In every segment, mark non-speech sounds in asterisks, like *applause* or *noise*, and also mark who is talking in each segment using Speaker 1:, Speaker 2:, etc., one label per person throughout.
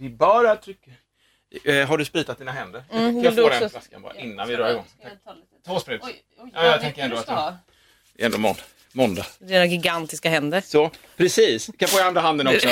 Speaker 1: vi bara trycker... Eh, har du spritat dina händer?
Speaker 2: Mm,
Speaker 1: kan
Speaker 2: vill
Speaker 1: jag
Speaker 2: du
Speaker 1: få
Speaker 2: också-
Speaker 1: den flaskan bara innan vi drar igång? Tack.
Speaker 3: Jag tar lite.
Speaker 1: Två sprut.
Speaker 3: Oj, oj,
Speaker 1: Ja, jag
Speaker 3: vad
Speaker 1: tänker
Speaker 3: mycket
Speaker 1: ändå
Speaker 3: du
Speaker 1: att
Speaker 3: ska
Speaker 1: jag-
Speaker 3: ha.
Speaker 1: Det är ändå månd- måndag.
Speaker 2: Dina gigantiska händer. *laughs*
Speaker 1: Så, precis. Kan få i andra handen också.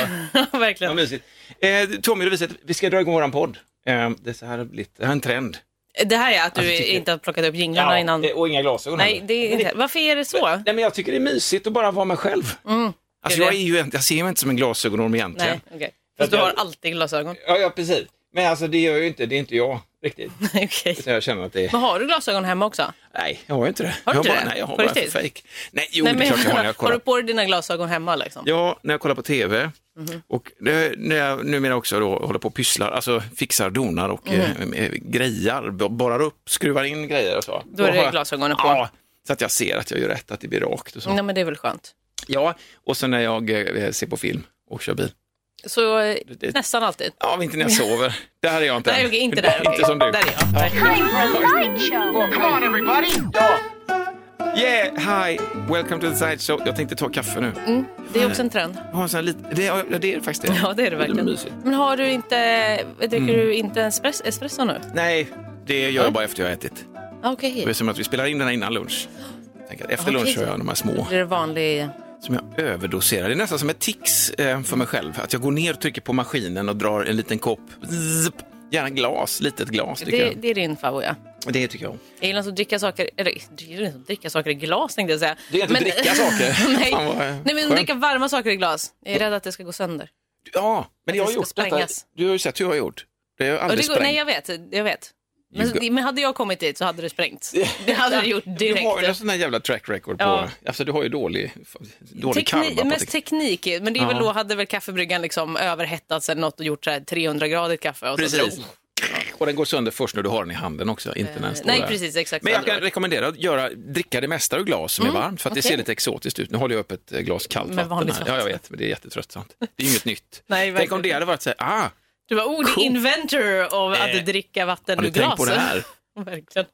Speaker 1: Vad
Speaker 2: Verkligen.
Speaker 1: mysigt. Eh, Tommy, du visar att vi ska dra igång våran podd. Eh, det, är så här det har blivit. det här är en trend.
Speaker 2: Det här är att du
Speaker 1: Alltså, tycker-
Speaker 2: inte har plockat upp jinglarna innan.
Speaker 1: eh, Och inga glasögon
Speaker 2: Nej,
Speaker 1: heller.
Speaker 2: det är inte. Varför är det så?
Speaker 1: Nej, men jag tycker det är mysigt att bara vara mig själv.
Speaker 2: Mm.
Speaker 1: Alltså,
Speaker 2: det är
Speaker 1: jag,
Speaker 2: det.
Speaker 1: är ju, en- jag ser mig inte som en glasögonorm egentligen.
Speaker 2: Nej, okej. Fast du har alltid glasögon. *laughs*
Speaker 1: Ja, ja, precis. Men alltså det gör jag ju inte, det är inte jag riktigt.
Speaker 2: Okej.
Speaker 1: Så jag känner att det är...
Speaker 2: Men har du glasögon hemma också?
Speaker 1: Nej, jag har ju inte det.
Speaker 2: Har du
Speaker 1: jag
Speaker 2: inte
Speaker 1: bara,
Speaker 2: det?
Speaker 1: Nej, jag har
Speaker 2: På
Speaker 1: bara
Speaker 2: riktigt?
Speaker 1: fake. Nej, jo,
Speaker 2: Nej,
Speaker 1: det är klart jag har när jag
Speaker 2: *laughs* har
Speaker 1: kollar.
Speaker 2: du på dig dina glasögon hemma liksom?
Speaker 1: Ja, när jag kollar på TV
Speaker 2: Mhm.
Speaker 1: och det, när jag numera också då håller på och pysslar, alltså fixar, donar och
Speaker 2: Mhm.
Speaker 1: eh, eh, grejar, bo- borrar upp, skruvar in grejer och så.
Speaker 2: Då är
Speaker 1: har
Speaker 2: det
Speaker 1: jag-
Speaker 2: glasögonen på.
Speaker 1: Ja, så att jag ser att jag gör rätt, att det blir rakt och så.
Speaker 2: Nej, men det är väl skönt.
Speaker 1: Ja, och så när jag eh, ser på film och kör bil.
Speaker 2: Så eh,
Speaker 1: det-
Speaker 2: nästan alltid.
Speaker 1: Ja, men
Speaker 2: *laughs*
Speaker 1: inte när jag sover. Där är jag inte
Speaker 2: Nej,
Speaker 1: än.
Speaker 2: okej, inte där.
Speaker 1: *laughs*
Speaker 2: okej.
Speaker 1: Inte som du.
Speaker 2: Där är jag. Nej.
Speaker 1: Yeah, hi, welcome to the side show. Jag tänkte ta kaffe nu.
Speaker 2: Mm, det är också en trend.
Speaker 1: Jag har en sån här lit- det, ja, det är faktiskt det. Mm.
Speaker 2: Ja, det är det verkligen.
Speaker 1: mysigt.
Speaker 2: Men har du inte, dricker du inte en espress, espresso nu?
Speaker 1: Nej, det gör jag bara efter jag har ätit.
Speaker 2: Ah, Okej,
Speaker 1: Det är som att vi spelar in den här innan lunch. Jag tänker att Efter
Speaker 2: Okej.
Speaker 1: lunch kör jag de här små
Speaker 2: det är det vanlig...
Speaker 1: som jag överdoserar. Det är nästan som ett tics eh, för mig själv. Att jag går ner, trycker på maskinen och drar en liten kopp. Zip. Gärna glas, litet glas tycker
Speaker 2: Det,
Speaker 1: jag.
Speaker 2: det är din favorit. ja.
Speaker 1: Det tycker jag om.
Speaker 2: Jag gillar inte att dricka saker, eller jag gillar inte att dricka saker i glas tänkte jag säga.
Speaker 1: Det är inte att dricka
Speaker 2: *laughs*
Speaker 1: saker.
Speaker 2: nej.
Speaker 1: Fan, vad
Speaker 2: nej, men
Speaker 1: skönt.
Speaker 2: dricka varma saker i glas. Jag är rädd att det ska gå sönder.
Speaker 1: Ja, men jag har
Speaker 2: det ska
Speaker 1: gjort detta.
Speaker 2: sprängas.
Speaker 1: Du har ju sett hur jag har gjort. Det har jag
Speaker 2: Och
Speaker 1: aldrig
Speaker 2: det går, nej,
Speaker 1: sprängt.
Speaker 2: jag vet. Jag vet. Men,
Speaker 1: You go-
Speaker 2: men hade jag kommit dit så hade det sprängts. Det hade det gjort
Speaker 1: Du har ju en
Speaker 2: direkt.
Speaker 1: sån här jävla track record på...
Speaker 2: Ja.
Speaker 1: Alltså du har ju dålig, dålig
Speaker 2: Tekni,
Speaker 1: karma på
Speaker 2: mest
Speaker 1: teknik.
Speaker 2: teknik, men det är väl
Speaker 1: Ja.
Speaker 2: då hade väl kaffebryggan liksom överhettats eller något och gjort så här 300-gradigt kaffe. Och Så,
Speaker 1: Precis. Och den går sönder först när du har den i handen också, inte när den står
Speaker 2: Eh, nej,
Speaker 1: där.
Speaker 2: precis. Exakt.
Speaker 1: Men
Speaker 2: så
Speaker 1: jag
Speaker 2: hade det
Speaker 1: kan rekommendera att göra, dricka det mesta ur glas som är varmt för att det
Speaker 2: Mm, okej.
Speaker 1: ser lite exotiskt ut. Nu håller jag upp ett eh, glas kallt
Speaker 2: Med
Speaker 1: vatten.
Speaker 2: vanligt
Speaker 1: Här.
Speaker 2: vatten.
Speaker 1: Ja, jag vet, men det är jättetröttsamt. Det är inget nytt.
Speaker 2: *laughs* Nej,
Speaker 1: Tänk om
Speaker 2: verkligen.
Speaker 1: det hade varit så här, ah,
Speaker 2: Du var oh, the
Speaker 1: Cool.
Speaker 2: inventor av att
Speaker 1: Eh,
Speaker 2: dricka vatten
Speaker 1: har
Speaker 2: ur
Speaker 1: du tänkt
Speaker 2: glas.
Speaker 1: på det här? *laughs*
Speaker 2: *laughs* Verkligen.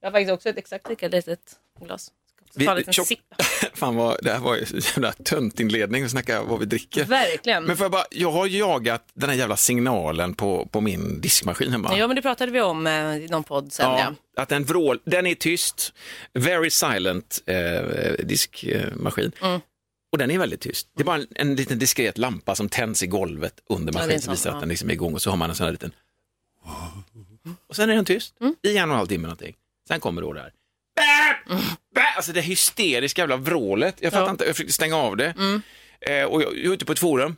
Speaker 2: Jag har faktiskt också ett exakt lika litet glas. Ska också
Speaker 1: Mm. Vi-
Speaker 2: ta en liten
Speaker 1: tjock-
Speaker 2: sipp. *laughs*
Speaker 1: Fan, vad, det här var ju så jävla töntinledning att snacka vad vi dricker.
Speaker 2: Verkligen.
Speaker 1: Men får jag bara, jag har jagat den här jävla signalen på, på min diskmaskin hemma.
Speaker 2: Ja, men det pratade vi om eh, i någon podd sen. Ja.
Speaker 1: Ja, att den vrål, den är tyst, very silent eh, diskmaskin.
Speaker 2: Mm.
Speaker 1: Och den är väldigt tyst. Det är bara en, en liten diskret lampa som tänds i golvet under
Speaker 2: det är
Speaker 1: maskinen
Speaker 2: en
Speaker 1: som
Speaker 2: sån,
Speaker 1: visar
Speaker 2: ja.
Speaker 1: att den liksom är igång och så har man en sån här liten... Och sen är den tyst
Speaker 2: Mm.
Speaker 1: i en och en halv timme någonting. Sen kommer då det här. Bä! Bä! Alltså det hysteriska jävla vrålet. Jag fattar inte, jag försökte stänga av det.
Speaker 2: Mm.
Speaker 1: Eh, och jag, jag är ute på ett forum,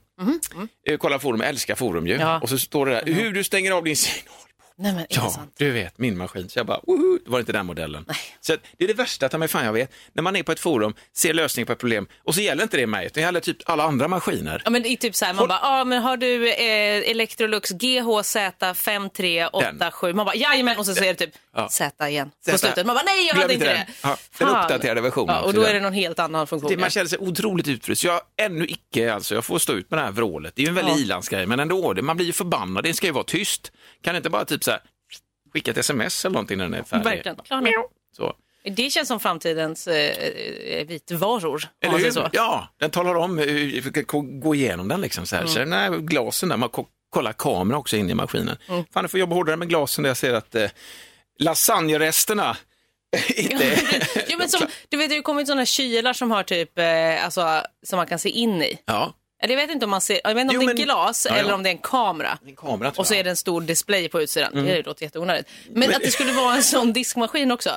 Speaker 1: eh, kollar forum, jag älskar forum ju.
Speaker 2: Mm-hmm. Ja. Mm-hmm.
Speaker 1: Och så står det där, hur du stänger av din signal.
Speaker 2: Nej, men
Speaker 1: Ja,
Speaker 2: intressant.
Speaker 1: du vet, min maskin. Så jag bara, woho, det var inte den modellen. Så att, det är det värsta ta mig fan jag vet, när man är på ett forum, ser lösning på ett problem och så gäller inte det mig, utan det gäller typ alla andra maskiner.
Speaker 2: Ja, men det är typ så här, man bara, ah, men har du eh, Electrolux GHZ5387? Man bara, jajamän, och så säger det typ Z igen på
Speaker 1: Zeta.
Speaker 2: slutet. Man bara, nej, jag
Speaker 1: Glöm
Speaker 2: hade inte
Speaker 1: inte
Speaker 2: det.
Speaker 1: den. Ja, den
Speaker 2: Fan.
Speaker 1: uppdaterade versionen
Speaker 2: Ja, och
Speaker 1: också,
Speaker 2: då
Speaker 1: den.
Speaker 2: är det någon helt annan funktion.
Speaker 1: Det, man känner sig otroligt utfryst. Jag har ännu icke, alltså, jag får stå ut med det här vrålet. Det är ju en väldig
Speaker 2: Ja.
Speaker 1: i-landsgrej, men ändå, det, man blir ju förbannad. Det ska ju vara tyst. Kan det inte bara typ så här, skicka ett sms eller någonting när den är
Speaker 2: ja.
Speaker 1: färdig?
Speaker 2: Verkligen. Klar nu.
Speaker 1: Så.
Speaker 2: Det känns som framtidens eh, eh, vitvaror. om
Speaker 1: Eller
Speaker 2: man
Speaker 1: hur?
Speaker 2: säger så.
Speaker 1: Ja, den talar om, hur- vi kan gå igenom den liksom så
Speaker 2: Mm.
Speaker 1: här. Så den här glasen där, man ko- kollar kameran också in i maskinen.
Speaker 2: Mm.
Speaker 1: Fan, jag får jobba hårdare med glasen där jag ser att eh, lasagneresterna *laughs* inte...
Speaker 2: Jo, men som, du vet, det har ju kommit sådana kylar som har typ, eh, alltså, som man kan se in i.
Speaker 1: *laughs* ja,
Speaker 2: Eller jag vet inte om man ser, jag vet inte om
Speaker 1: Jo,
Speaker 2: det är
Speaker 1: men-
Speaker 2: glas
Speaker 1: Ja, ja.
Speaker 2: eller om det är en kamera.
Speaker 1: en kamera tror
Speaker 2: Och så är
Speaker 1: jag.
Speaker 2: det en stor display på utsidan.
Speaker 1: Mm.
Speaker 2: Det låter jätteonödigt. Men, att det skulle vara en sån diskmaskin också.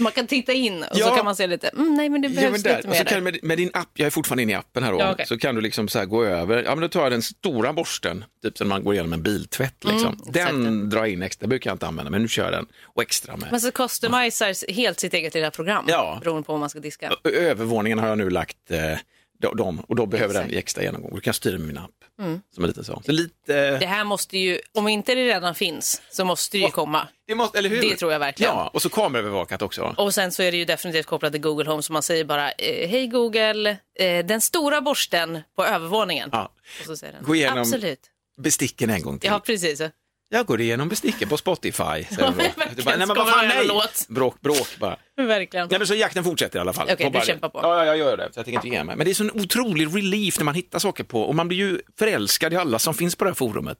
Speaker 2: Man kan titta in och så
Speaker 1: Ja.
Speaker 2: kan man se lite, mm, nej men det
Speaker 1: Ja,
Speaker 2: behövs
Speaker 1: men där.
Speaker 2: lite
Speaker 1: Och så
Speaker 2: mer
Speaker 1: kan du
Speaker 2: där.
Speaker 1: med, med din app, jag är fortfarande inne i appen här då,
Speaker 2: Ja, okej.
Speaker 1: så kan du liksom så här gå över, ja men då tar jag den stora borsten, typ som man går igenom en biltvätt liksom.
Speaker 2: Mm,
Speaker 1: den drar in extra, brukar jag inte använda, men nu kör jag den och extra med.
Speaker 2: Man så customiserar helt sitt eget lilla program
Speaker 1: Ja.
Speaker 2: beroende på vad man ska diska.
Speaker 1: Ö- övervåningen har jag nu lagt eh, de- dem och då behöver den i extra genomgång. Du kan jag styra med min app. Som är lite så. så lite,
Speaker 2: Det här måste ju, om inte det redan finns, så måste det ju komma.
Speaker 1: det, måste, eller hur?
Speaker 2: det tror jag verkligen.
Speaker 1: Ja, och så kameraövervakat också.
Speaker 2: Och sen så är det ju definitivt kopplat till Google Home, så man säger bara eh, Hej Google, eh, den stora borsten på övervåningen.
Speaker 1: Ja.
Speaker 2: Och så säger den,
Speaker 1: Gå igenom-
Speaker 2: Absolut.
Speaker 1: Besticken en gång till.
Speaker 2: Ja, precis.
Speaker 1: Jag går igenom besticken på Spotify. säger
Speaker 2: *laughs*
Speaker 1: jag då.
Speaker 2: men verkligen,
Speaker 1: Du bara, nej, men
Speaker 2: ska
Speaker 1: vad fan,
Speaker 2: man göra en
Speaker 1: nej.
Speaker 2: låt?
Speaker 1: Bråk, bråk bara.
Speaker 2: Verkligen.
Speaker 1: Nej, men så jakten fortsätter i alla fall.
Speaker 2: Okej,
Speaker 1: Och
Speaker 2: du
Speaker 1: bara-
Speaker 2: kämpar på.
Speaker 1: Ja, ja, jag gör det. Så jag tänker inte ge mig. Men det är sån otrolig relief när man hittar saker på och man blir ju förälskad i alla som finns på det här forumet.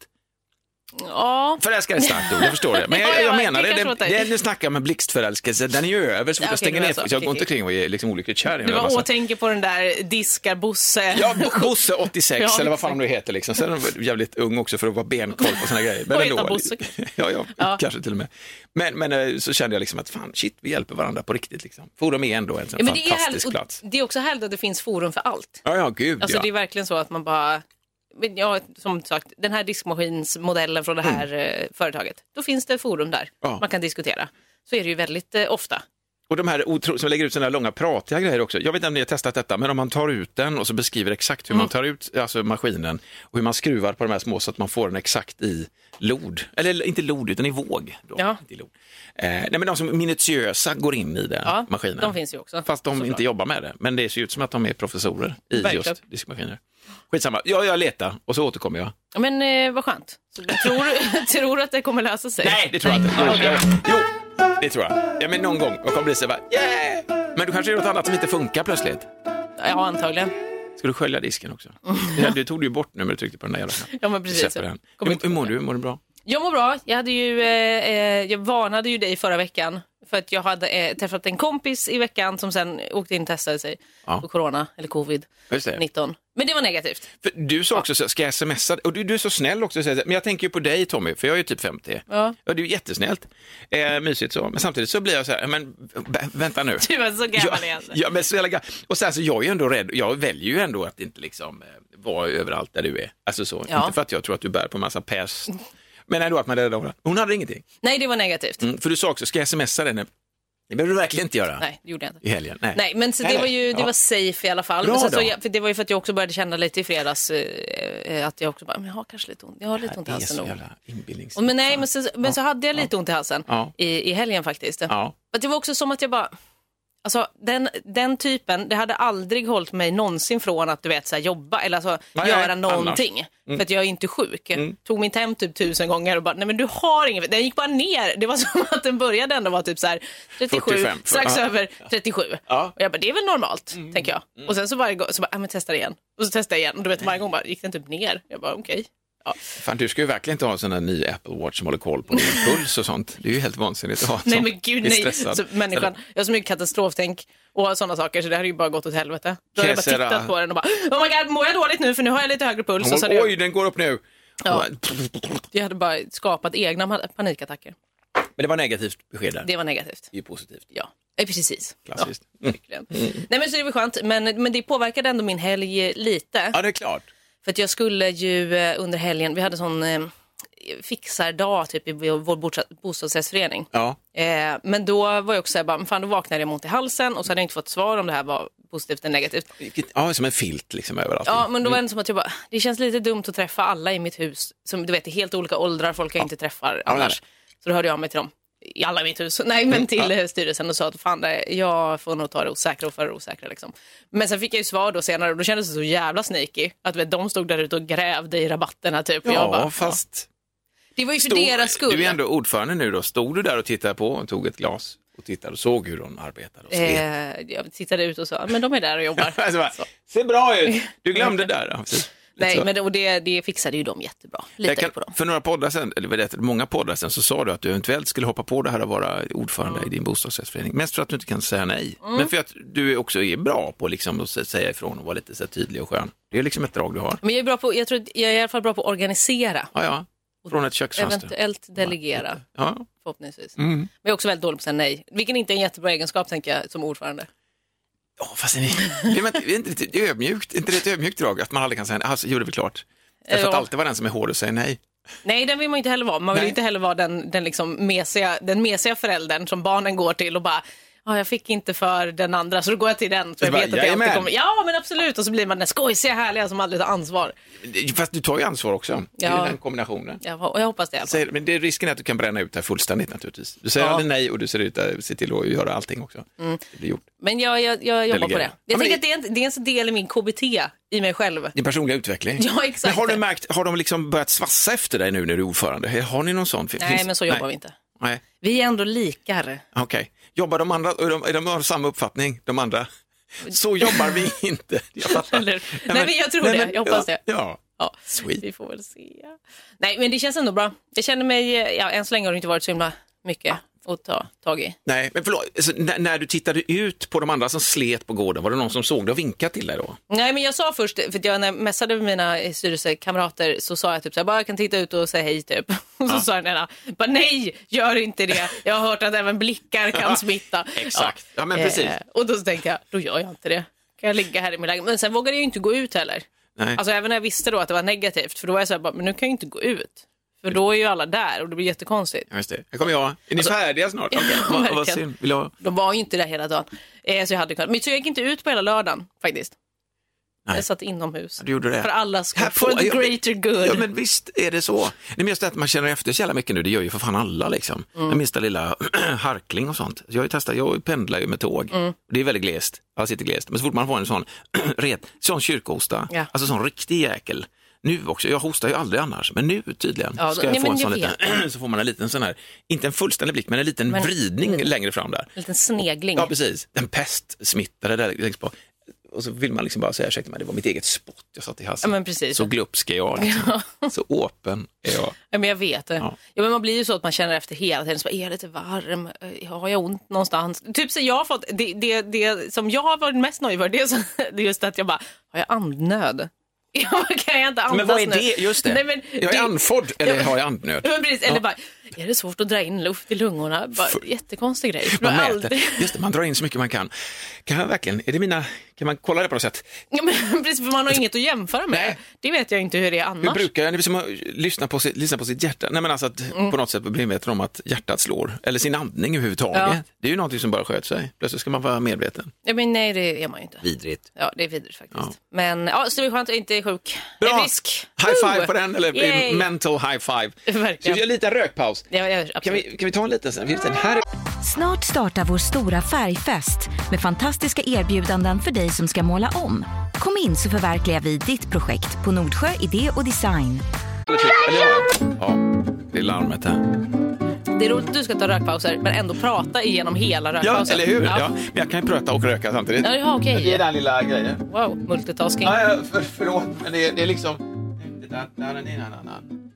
Speaker 2: Ja.
Speaker 1: Förälskad är ett starkt ord, jag förstår det. Men
Speaker 2: *laughs* Ja,
Speaker 1: jag,
Speaker 2: jag
Speaker 1: jag
Speaker 2: var-
Speaker 1: menar det,
Speaker 2: det kanske
Speaker 1: det,
Speaker 2: var
Speaker 1: det, nu snackar jag med blixtförälskelse, den är ju över så fort
Speaker 2: Ja,
Speaker 1: jag
Speaker 2: okej,
Speaker 1: stänger
Speaker 2: det var
Speaker 1: ner.
Speaker 2: så.
Speaker 1: Så jag
Speaker 2: Okej,
Speaker 1: går inte
Speaker 2: okej.
Speaker 1: kring och är liksom olyckligt kär i
Speaker 2: Du
Speaker 1: den.
Speaker 2: bara
Speaker 1: Jag bara
Speaker 2: åh, tänker på den där diskarbosse.
Speaker 1: Ja, Bo- Bosse 86
Speaker 2: Ja,
Speaker 1: eller vad fan du heter liksom. Sen var jag jävligt ung också för att vara benkoll på såna grejer. Men
Speaker 2: Och
Speaker 1: ändå.
Speaker 2: heta Bosse.
Speaker 1: *laughs* Ja, ja,
Speaker 2: Ja.
Speaker 1: kanske till och med. Men, men eh, så kände jag liksom att fan, shit, vi hjälper varandra på riktigt liksom. Forum är ändå en sån
Speaker 2: Ja, men det, är
Speaker 1: fantastisk
Speaker 2: härligt, och
Speaker 1: plats.
Speaker 2: det är också härligt att det finns forum för allt.
Speaker 1: Ja, ja, gud
Speaker 2: Alltså
Speaker 1: ja.
Speaker 2: det är verkligen så att man bara, men ja, som sagt, den här diskmaskinsmodellen från det här eh, företaget, då finns det forum där
Speaker 1: Mm. Ja.
Speaker 2: man kan diskutera. Så är det ju väldigt eh, ofta.
Speaker 1: Och de här otro- som lägger ut sådana här långa pratiga grejer också. Jag vet inte om ni har testat detta, men om man tar ut den och så beskriver exakt hur
Speaker 2: Mm.
Speaker 1: man tar ut alltså maskinen och hur man skruvar på de här små så att man får den exakt i lod. Eller inte lod, utan i våg. Då.
Speaker 2: Ja.
Speaker 1: Inte i lod. Eh, nej, men de som minutiösa går in i den
Speaker 2: Ja,
Speaker 1: maskinen.
Speaker 2: de finns ju också,
Speaker 1: Fast de
Speaker 2: såklart.
Speaker 1: inte jobbar med det. Men det ser ut som att de är professorer i
Speaker 2: Verkligen.
Speaker 1: just diskmaskiner. Skitsamma, ja, jag letar och så återkommer jag.
Speaker 2: Ja, Men eh, vad skönt. Så, du tror, *laughs* tror du att det kommer lösa sig?
Speaker 1: Nej, det tror jag inte. Jo, det tror jag. Ja, men någon gång. Jag kommer bli så här, bara, yeah! Men du kanske är något annat som inte funkar plötsligt.
Speaker 2: Ja, antagligen.
Speaker 1: Ska du skölja disken
Speaker 2: *laughs*
Speaker 1: också? Ja, du tog du ju bort nu när du tryckte på den där jävla knappen.
Speaker 2: Ja, men precis.
Speaker 1: Släpper den.
Speaker 2: Kommer
Speaker 1: Hur,
Speaker 2: inte
Speaker 1: hur mår du? Mår du bra?
Speaker 2: Jag mår bra. Jag, hade ju, eh, eh, jag varnade ju dig förra veckan för att jag hade eh, träffat en kompis i veckan som sen åkte in och testade sig
Speaker 1: Ja.
Speaker 2: på corona, eller covid-19.
Speaker 1: Just det.
Speaker 2: Men det var negativt. *laughs*
Speaker 1: För du sa också, så, ska jag smsa? Och du, du är så snäll också, säger så här, men jag tänker ju på dig Tommy, för jag är ju typ 50.
Speaker 2: Ja.
Speaker 1: ja du är jättesnällt. Eh, mysigt så. Men samtidigt så blir jag så här, men vä- vänta nu.
Speaker 2: *laughs* Du var så gammal
Speaker 1: ja,
Speaker 2: igen.
Speaker 1: *laughs* ja, men så jävla gammal. Och sen så jag är ju ändå rädd, jag väljer ju ändå att inte liksom eh, vara överallt där du är. Alltså så,
Speaker 2: Ja.
Speaker 1: inte för att jag tror att du bär på massa pest. Men ändå att man är rädd om varandra. Hon hade ingenting.
Speaker 2: Nej, det var negativt.
Speaker 1: Mm, för du sa också, ska jag smsa dig? nu? Det behöver du verkligen inte göra.
Speaker 2: Nej, det gjorde jag inte.
Speaker 1: I helgen? Nej.
Speaker 2: Nej, men så det
Speaker 1: Nej,
Speaker 2: var ju det
Speaker 1: ja.
Speaker 2: var safe i alla fall.
Speaker 1: Bra
Speaker 2: Men sen så,
Speaker 1: då.
Speaker 2: jag, för det var ju för att jag också började känna lite i fredags eh, eh, att jag också bara, men jag har kanske lite ont, jag har lite ont
Speaker 1: Det
Speaker 2: i
Speaker 1: är
Speaker 2: halsen
Speaker 1: så
Speaker 2: nog.
Speaker 1: jävla inbillnings...
Speaker 2: Och Men nej, men så, men så hade jag lite ont i halsen
Speaker 1: Ja.
Speaker 2: i, i helgen faktiskt.
Speaker 1: Ja.
Speaker 2: Men det var också som att jag bara, alltså den, den typen, det hade aldrig hållit mig någonsin från att du vet så här, jobba eller alltså,
Speaker 1: Nej,
Speaker 2: göra
Speaker 1: annars. Mm.
Speaker 2: någonting. För att jag är inte sjuk. Tog mitt hem typ tusen gånger och bara, nej men du har inget, den gick bara ner. Det var *laughs* som att den började ändå vara typ så här 37,
Speaker 1: 45,
Speaker 2: strax
Speaker 1: ja.
Speaker 2: över 37.
Speaker 1: Ja. Mm.
Speaker 2: Och jag bara, det är väl normalt, tänker jag. Och sen så varje gång, så bara, ja men testa det igen. Och så testade jag igen och du vet varje gång bara, gick den typ ner. Jag bara, okej. Ja.
Speaker 1: Fan, du ska ju verkligen inte ha en sån där ny Apple Watch som håller koll på
Speaker 2: *laughs*
Speaker 1: din puls och sånt. Det är ju helt vansinnigt att ha. en
Speaker 2: Nej
Speaker 1: sån.
Speaker 2: men gud
Speaker 1: Det är
Speaker 2: nej.
Speaker 1: stressad.
Speaker 2: Så, människan, jag har så mycket katastroftänk och sådana saker så det här är ju bara gått åt helvete. Då har jag bara
Speaker 1: Kesera.
Speaker 2: tittat på den och bara, oh my god, mår jag dåligt nu för nu har jag lite högre puls. Och så
Speaker 1: Hon,
Speaker 2: hade jag,
Speaker 1: Oj, den går upp nu!
Speaker 2: Ja. jag hade bara skapat egna ma- panikattacker.
Speaker 1: Men det var negativt besked där. Det
Speaker 2: Det var negativt.
Speaker 1: är ju positivt.
Speaker 2: Ja, Eh, precis.
Speaker 1: Klassiskt. Ja,
Speaker 2: Ja, verkligen. Nej men så det var skönt, men, men det påverkade ändå min helg eh, lite.
Speaker 1: ja det är klart.
Speaker 2: För att jag skulle ju eh, under helgen, vi hade sån eh, fixardag typ i vår bostads- bostadsrättsförening.
Speaker 1: Ja.
Speaker 2: Eh, men då var jag också såhär, bara, men fan då vaknade jag med ont i halsen och så hade jag inte fått svar om det här var positivt eller negativt. Mm.
Speaker 1: Vilket- ja, som en filt liksom överallt.
Speaker 2: Ja, men då var det som att jag bara, det känns lite dumt att träffa alla i mitt hus. Som du vet, det är helt olika åldrar, folk jag inte träffar
Speaker 1: nej, nej.
Speaker 2: annars. Så då hörde jag av mig till dem, i alla i mitt hus, *laughs* nej men till eh, styrelsen och sa att fan, det- jag får nog ta det osäkra och för det osäkra liksom. Men sen fick jag ju svar då senare och då kändes det så jävla sneaky. Att vet, de stod där ute och grävde i rabatterna typ. Och jag
Speaker 1: ja
Speaker 2: bara,
Speaker 1: fast...
Speaker 2: ja. Det var ju för
Speaker 1: Stod-
Speaker 2: deras skull.
Speaker 1: Du är ändå ordförande nu då. Stod du där och tittade på och tog ett glas och tittade och såg hur hon arbetade och slet?
Speaker 2: eh, jag tittade ut och sa, men de är där och *laughs* jobbar.
Speaker 1: *laughs* Alltså, bara,
Speaker 2: Så.
Speaker 1: ser bra
Speaker 2: *laughs*
Speaker 1: ut! Du glömde där. Ja, precis. Lite så.
Speaker 2: Nej, men det, och det, det fixade ju de jättebra.
Speaker 1: Liksom.
Speaker 2: Litar
Speaker 1: Jag kan,
Speaker 2: ju på dem.
Speaker 1: för några poddar sen, eller vad det heter, många poddar sen, så sa du att du eventuellt skulle hoppa på det här att vara ordförande i din bostadsrättsförening. Mest för att du inte kan säga nej,
Speaker 2: Mm.
Speaker 1: men för att du också är bra på liksom att sä- säga ifrån och vara lite så här tydlig och skön. Det är liksom ett drag du har.
Speaker 2: Men jag är, bra på, jag, tror, att jag är i alla fall bra på att organisera.
Speaker 1: Ja, ja. Från ett köksfönster.
Speaker 2: Eventuellt delegera,
Speaker 1: Ja.
Speaker 2: förhoppningsvis.
Speaker 1: Mm.
Speaker 2: Men jag är också väldigt dålig på att säga nej, vilken inte är en jättebra egenskap tänker jag som ordförande.
Speaker 1: Ja, fast är ni, det är man inte- det är inte riktigt ödmjukt, är inte det ett ödmjukt drag att man aldrig kan säga nej, alltså, gjorde vi klart. Därför att
Speaker 2: Ja.
Speaker 1: alltid vara den som är hård och säger nej.
Speaker 2: Nej, den vill man ju inte heller vara. Man vill
Speaker 1: Nej.
Speaker 2: ju inte heller vara den, den, liksom mesiga, den mesiga föräldern som barnen går till och bara Ja, jag fick inte för den andra så då går jag till den. Så jag
Speaker 1: bara,
Speaker 2: vet att jag alltid
Speaker 1: "Jajamän."
Speaker 2: kommer. Ja men absolut och så blir man den skojsiga härliga som aldrig tar ansvar.
Speaker 1: Fast du tar ju ansvar också, det är
Speaker 2: Ja.
Speaker 1: ju den kombinationen.
Speaker 2: Jag, ho- jag hoppas det. i alla fall.
Speaker 1: Säger, men det är risken är att du kan bränna ut det här fullständigt naturligtvis. Du säger
Speaker 2: Ja. Mm.
Speaker 1: aldrig nej och du ser, ut, att- ser till att göra allting också. Det blir gjort.
Speaker 2: Men jag, jag, jag jobbar på
Speaker 1: Delegera.
Speaker 2: det.
Speaker 1: Ja,
Speaker 2: Jag
Speaker 1: men
Speaker 2: tänker
Speaker 1: det-
Speaker 2: att det är, en, det är en så del i min KBT, i mig själv.
Speaker 1: Din personliga utveckling.
Speaker 2: Ja, exakt.
Speaker 1: Men har, du märkt, har de liksom börjat svassa efter dig nu när du är ordförande? Har ni någon sån? Fin-
Speaker 2: Nej,
Speaker 1: finns-
Speaker 2: men så jobbar vi inte.
Speaker 1: Nej,
Speaker 2: Vi är ändå likar.
Speaker 1: okej. Jobbar de andra, är de, är de har samma uppfattning, de
Speaker 2: *laughs*
Speaker 1: andra? Så jobbar vi inte. Jag fattar.
Speaker 2: Eller- Nej, men jag tror det. Jag hoppas
Speaker 1: ja,
Speaker 2: det.
Speaker 1: Ja,
Speaker 2: Ja,
Speaker 1: Sweet.
Speaker 2: vi får väl se. Nej, men det känns ändå bra. Jag känner mig, ja, än så länge har det inte varit så himla mycket att ta tag i.
Speaker 1: Nej, men förlåt, alltså, när, när du tittade ut på de andra som slet på gården, var det någon som såg dig och vinkade till dig då?
Speaker 2: Nej, men jag sa först, för att jag, när jag messade med mina eh, styrelsekamrater så sa jag typ så här, bara jag kan titta ut och säga hej typ. *laughs* Och så sa den ena, bara nej, gör inte det. Jag har hört att även blickar
Speaker 1: *laughs*
Speaker 2: kan smitta. Eh,
Speaker 1: Exakt. Ja, men precis.
Speaker 2: och då så tänkte jag, då gör jag inte det. Kan jag ligga här i min lägenhet? Men sen vågade jag ju inte gå ut heller.
Speaker 1: Nej.
Speaker 2: Alltså även när jag visste då att det var negativt, för då var jag så här, bara, men nu kan jag ju inte gå ut. För då är ju alla där och det blir jättekonstigt.
Speaker 1: Ja, just det. Här kommer jag. Är ni färdiga
Speaker 2: *laughs*
Speaker 1: snart? Okej, vad, vad
Speaker 2: verkligen.
Speaker 1: synd. Vill jag...
Speaker 2: De var ju inte där hela dagen. Eh, så jag hade kunnat. Men så jag gick inte ut på hela lördagen faktiskt.
Speaker 1: Nej.
Speaker 2: Jag satt inomhus.
Speaker 1: Du gjorde det.
Speaker 2: För alla skull.
Speaker 1: Här
Speaker 2: For
Speaker 1: får-
Speaker 2: the
Speaker 1: ja, men-
Speaker 2: greater good.
Speaker 1: Ja, men visst är det så. Nej, men just det att man känner efter så jävla mycket nu, det gör ju för fan alla liksom.
Speaker 2: Mm.
Speaker 1: Den minsta lilla *clears throat* harkling och sånt. Jag, har ju testat, jag pendlar ju med tåg.
Speaker 2: Mm.
Speaker 1: Det är väldigt glest, jag sitter glest. Men så fort man får en sån, *clears throat* ret, sån kyrkohosta,
Speaker 2: Ja.
Speaker 1: alltså sån riktig jäkel. Nu också, jag hostar ju aldrig annars, men nu tydligen
Speaker 2: Ja,
Speaker 1: ska jag
Speaker 2: nej,
Speaker 1: få
Speaker 2: men
Speaker 1: en sån
Speaker 2: jag
Speaker 1: liten, *clears throat* så får man en liten sån här, inte en fullständig blick, men en liten
Speaker 2: Men- Mm.
Speaker 1: vridning längre fram där.
Speaker 2: En liten snegling.
Speaker 1: Ja, precis. En pestsmittare där längst på. Och så vill man liksom bara säga, ursäkta mig, det var mitt eget spott jag satt i halsen.
Speaker 2: Ja, men precis.
Speaker 1: Så glupsk är jag. Liksom. Så öppen är jag.
Speaker 2: Ja, men jag vet det. Ja.
Speaker 1: Ja.
Speaker 2: men man blir ju så att man känner efter hela tiden. Så bara, är jag lite varm? Eh, Har jag ont någonstans? Typ så jag har fått, det, det, det som jag har varit mest nöjd för det är, så, *laughs* det är just att jag bara, har jag andnöd? *laughs* Ja, kan jag inte andas
Speaker 1: Men vad är
Speaker 2: nu?
Speaker 1: det? Just det.
Speaker 2: Nej, men,
Speaker 1: jag är
Speaker 2: det-
Speaker 1: andfådd, eller har jag andnöd?
Speaker 2: Ja, men precis. Eller bara, är det svårt att dra in luft i lungorna? Bara, jättekonstig grej. Det var
Speaker 1: Man mäter.
Speaker 2: aldrig- *laughs*
Speaker 1: Just det, man drar in så mycket man kan. Kan jag verkligen, är det mina, kan man kolla det på något sätt?
Speaker 2: Ja, men, precis, för man har inget att jämföra med.
Speaker 1: Nej.
Speaker 2: Det vet jag inte hur det är annars.
Speaker 1: Hur brukar jag, det är som att lyssna på sitt, lyssna på sitt hjärta, nej men alltså att
Speaker 2: Mm.
Speaker 1: på något sätt bli medveten om att hjärtat slår, eller sin andning överhuvudtaget.
Speaker 2: Ja.
Speaker 1: Det är ju någonting som bara sköter sig, plötsligt ska man vara medveten.
Speaker 2: ja, men, nej, det är man ju inte.
Speaker 1: Vidrigt.
Speaker 2: Ja, det är vidrigt faktiskt.
Speaker 1: Ja.
Speaker 2: Men ja, så det är skönt att inte är sjuk.
Speaker 1: Bra!
Speaker 2: Är frisk.
Speaker 1: High
Speaker 2: Woo!
Speaker 1: five på den, eller
Speaker 2: Yay!
Speaker 1: mental high five.
Speaker 2: *laughs*
Speaker 1: Så
Speaker 2: Verkligen.
Speaker 1: vi gör en liten rökpaus.
Speaker 2: Ja, ja, absolut.
Speaker 1: Kan vi, kan vi ta en liten sen? Finns det en här?
Speaker 3: Snart startar vår stora färgfest med fantastiska erbjudanden för dig som ska måla om. Kom in så förverkligar vi ditt projekt på Nordsjö Idé och Design.
Speaker 1: typ? Eller ja. ja, det är larmet här.
Speaker 2: Det är roligt att du ska ta rökpauser, men ändå prata igenom hela
Speaker 1: Ja,
Speaker 2: rökpausen.
Speaker 1: eller hur? Ja.
Speaker 2: Ja,
Speaker 1: Men jag kan ju prata och röka samtidigt.
Speaker 2: ja, ja okej.
Speaker 1: Det är den lilla grejen.
Speaker 2: Wow, multitasking.
Speaker 1: Ja, ja, för, förlåt, men det, är- det är liksom...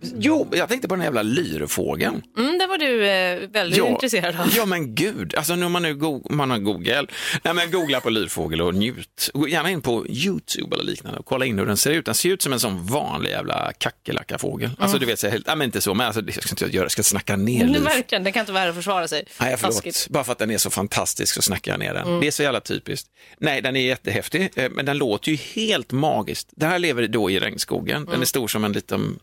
Speaker 1: Jo, jag tänkte på den här jävla lyrfågeln.
Speaker 2: Mm, där var du eh, väldigt intresserad av.
Speaker 1: Ja, men gud. Alltså, nu har man, nu go- man har Google. Nej, men googla på lyrfågel och njut. Gå gärna in på YouTube eller liknande och kolla in hur den ser ut. Den ser ut som en sån vanlig jävla kackerlackafågel. Alltså, du vet, så här helt, nej, men inte så, men alltså, det jag ska inte göra, jag ska snacka ner
Speaker 2: *laughs* Nu,
Speaker 1: lyrfågeln.
Speaker 2: verkligen, den kan inte vara här och försvara sig.
Speaker 1: Nej, förlåt.
Speaker 2: Taskigt. Mm.
Speaker 1: Bara för att den är så fantastisk så snackar jag ner den. Det är så jävla typiskt. Nej, den är jättehäftig, eh, men den låter ju helt magiskt. Den här lever då i regnskogen.
Speaker 2: Mm.
Speaker 1: Den är stor som en liten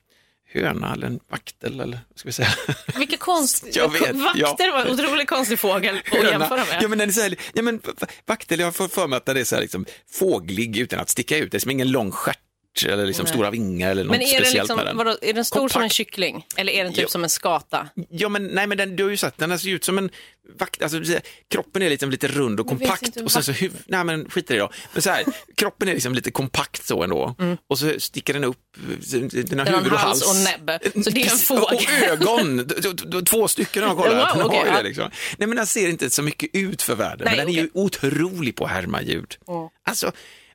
Speaker 1: höna eller en vaktel eller vad ska vi säga? *laughs*
Speaker 2: Vilka konst...
Speaker 1: Jag vet, ja.
Speaker 2: Vakter var en otroligt konstig fågel att jämföra med.
Speaker 1: Ja, men den är så här, ja, men v- v- vaktel, jag får för mig att den är så här liksom fåglig utan att sticka ut. Det är som ingen lång stjärt eller liksom stora vingar eller något
Speaker 2: Men är den,
Speaker 1: speciellt
Speaker 2: liksom,
Speaker 1: med den.
Speaker 2: vadå, är den stor som en
Speaker 1: Kompakt.
Speaker 2: kyckling eller är den typ
Speaker 1: Jo.
Speaker 2: som en skata?
Speaker 1: Ja, men nej, men den, du har ju sett, den ser ut som en vakt, alltså så här, kroppen är liksom lite rund och
Speaker 2: Men vet
Speaker 1: kompakt
Speaker 2: inte
Speaker 1: och sen så huvud, nej men skit i det då. Men så här, kroppen är liksom lite kompakt så ändå och så sticker den upp, den har
Speaker 2: Mm. Den har
Speaker 1: huvud och
Speaker 2: hals
Speaker 1: hals.
Speaker 2: och näbb. Så
Speaker 1: *laughs*
Speaker 2: det är en
Speaker 1: Precis, och-
Speaker 2: fågel.
Speaker 1: Och ögon, d- d- d- två stycken har jag kollat,
Speaker 2: Wow,
Speaker 1: den
Speaker 2: okej,
Speaker 1: har ju
Speaker 2: ja.
Speaker 1: det liksom. Nej men den ser inte så mycket ut för världen,
Speaker 2: Nej,
Speaker 1: men den är ju otrolig på att härma ljud. Alltså,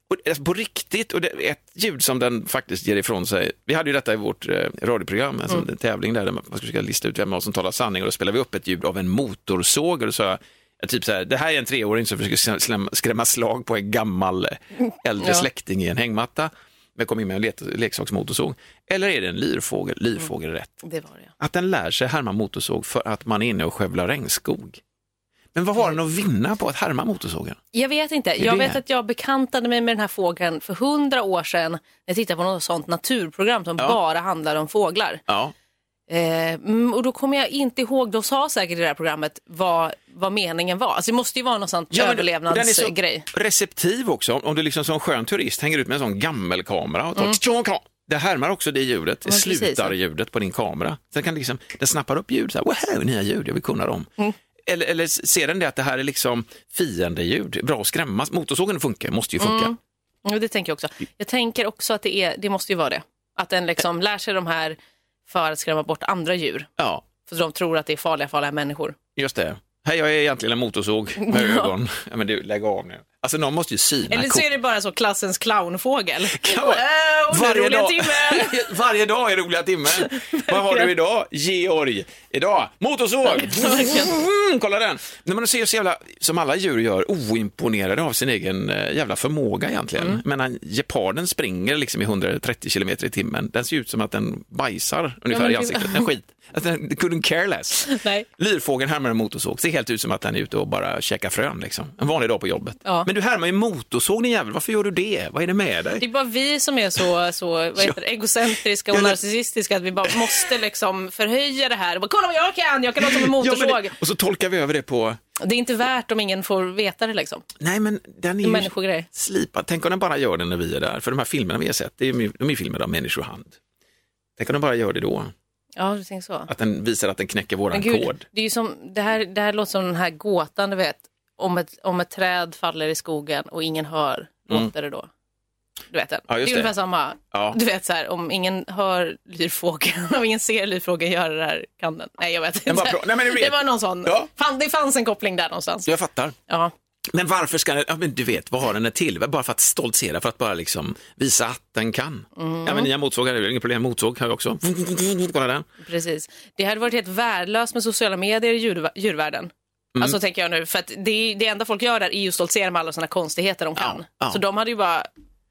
Speaker 1: och, alltså på riktigt, och det är ett ljud som den faktiskt ger ifrån sig. Vi hade ju detta i vårt eh, radioprogram, alltså en tävling där, där man man skulle försöka lista ut vem av oss som talar sanning och då spelade vi upp ett ljud av en motorsåg och då sa jag, ja, typ så här, det här är en treåring som försöker skrämma- skrämma slag på en gammal eh, äldre
Speaker 2: Ja.
Speaker 1: släkting i en hängmatta. Men kom in med en le- leksaksmotorsåg. Eller är det en lyrfågel? Lyrfågel är rätt.
Speaker 2: Det var det.
Speaker 1: Att den lär sig härma motorsåg för att man är inne och skövlar regnskog. Men vad har den att vinna på att härma motorsågen?
Speaker 2: Jag vet inte. Jag
Speaker 1: det?
Speaker 2: vet att jag bekantade mig med den här fågeln för hundra år sedan. när Jag tittade på något sånt naturprogram som
Speaker 1: Ja.
Speaker 2: bara handlade om fåglar.
Speaker 1: Ja,
Speaker 2: Eh, mm, och då kommer jag inte ihåg, de sa säkert i det här programmet vad, vad meningen var. Alltså det måste ju vara någon sån
Speaker 1: Ja, men Den är så
Speaker 2: överlevnadsgrej.
Speaker 1: receptiv också. Om du liksom som skön turist hänger ut med en sån gammelkamera och tar tjong, tjong. Det härmar också det ljudet, det
Speaker 2: Mm. Ja, precis,
Speaker 1: slutar
Speaker 2: ja.
Speaker 1: ljudet på din kamera. Sen kan liksom, den snappar upp ljud, så här, wow, nya ljud, jag vill kunna dem.
Speaker 2: Mm.
Speaker 1: Eller, eller ser den det att det här är liksom fiendeljud, bra att skrämmas. Motorsågen funkar, måste ju funka.
Speaker 2: Mm. Jo, det tänker jag också. Jag tänker också att det, är, det måste ju vara det. Att den liksom lär sig de här för att skrämma bort andra djur.
Speaker 1: Ja,
Speaker 2: För de tror att det är farliga, farliga människor. *laughs*
Speaker 1: just det. Hej, jag är egentligen en motorsåg med ögon. Ja, men du, lägg av nu. Alltså någon måste ju syna
Speaker 2: Eller så
Speaker 1: kor.
Speaker 2: är det bara så
Speaker 1: *laughs*
Speaker 2: klassens clownfågel.
Speaker 1: Kan
Speaker 2: Wow,
Speaker 1: vara-
Speaker 2: Varje dag.
Speaker 1: *laughs* Varje dag är roliga timmen. Vad har du idag? Georg. Idag, motorsåg. Mm, Kolla den. När man ser så jävla, som alla djur gör, oimponerade av sin egen eh, jävla förmåga egentligen.
Speaker 2: Mm.
Speaker 1: Men han, geparden springer liksom i 130 kilometer i timmen. Den ser ut som att den bajsar ungefär
Speaker 2: Ja, men
Speaker 1: i ansiktet. Den
Speaker 2: *laughs*
Speaker 1: skit. Alltså, den couldn't care less.
Speaker 2: Nej.
Speaker 1: Lyrfågeln härmar en motorsåg. Ser helt ut som att den är ute och bara käkar frön. Liksom. En vanlig dag på jobbet.
Speaker 2: Ja.
Speaker 1: Men du härmar ju motorsåg din jävel. Varför gör du det? Vad är det med dig?
Speaker 2: Det är bara vi som är så, så vad heter det, egocentriska och
Speaker 1: Ja, men-
Speaker 2: narcissistiska att vi bara måste liksom förhöja det här. Och bara, Kolla vad jag kan, jag kan låta som en
Speaker 1: *laughs* Ja, men
Speaker 2: motorsåg.
Speaker 1: det, och så tolkar vi över det på,
Speaker 2: Det är inte värt om ingen får veta det liksom.
Speaker 1: nej men den är ju
Speaker 2: Människogrej.
Speaker 1: slipad. Tänk om den bara gör det när vi är där. För de här filmerna vi har sett, det är ju, de är ju filmer av människohand. Tänk om den bara gör det då.
Speaker 2: Ja, du tänker så.
Speaker 1: Att den visar att den knäcker
Speaker 2: Men
Speaker 1: våran
Speaker 2: gud,
Speaker 1: kod.
Speaker 2: det, är ju som, det, här, det här låter som den här gåtan, du vet. Om ett, om ett träd faller i skogen och ingen hör,
Speaker 1: Mm.
Speaker 2: låter det då? Du vet den.
Speaker 1: Ja,
Speaker 2: det är
Speaker 1: just det.
Speaker 2: ungefär samma.
Speaker 1: Ja.
Speaker 2: Du vet så här, om ingen hör lyrfågeln, *laughs* om ingen ser lyrfågeln göra det här, kan den? Nej, jag vet inte.
Speaker 1: bara pro- Nej, men du vet.
Speaker 2: Det var någon sån.
Speaker 1: Ja.
Speaker 2: Fan, det fanns en koppling där någonstans.
Speaker 1: Jag fattar.
Speaker 2: Ja.
Speaker 1: Men varför ska den, ja men du vet, vad har den det till? Bara för att stoltsera, för att bara liksom visa att den kan.
Speaker 2: Mm.
Speaker 1: Ja men nya motorsågar, det är ju inget problem, motorsåg har jag också. *laughs* Kolla den.
Speaker 2: Precis. Det hade varit helt värdelöst med sociala medier i djur, djurvärlden.
Speaker 1: Mm.
Speaker 2: Alltså tänker jag nu, för att det, det enda folk gör där är ju att stoltsera med alla sina konstigheter de kan.
Speaker 1: ja.
Speaker 2: Så de hade ju bara,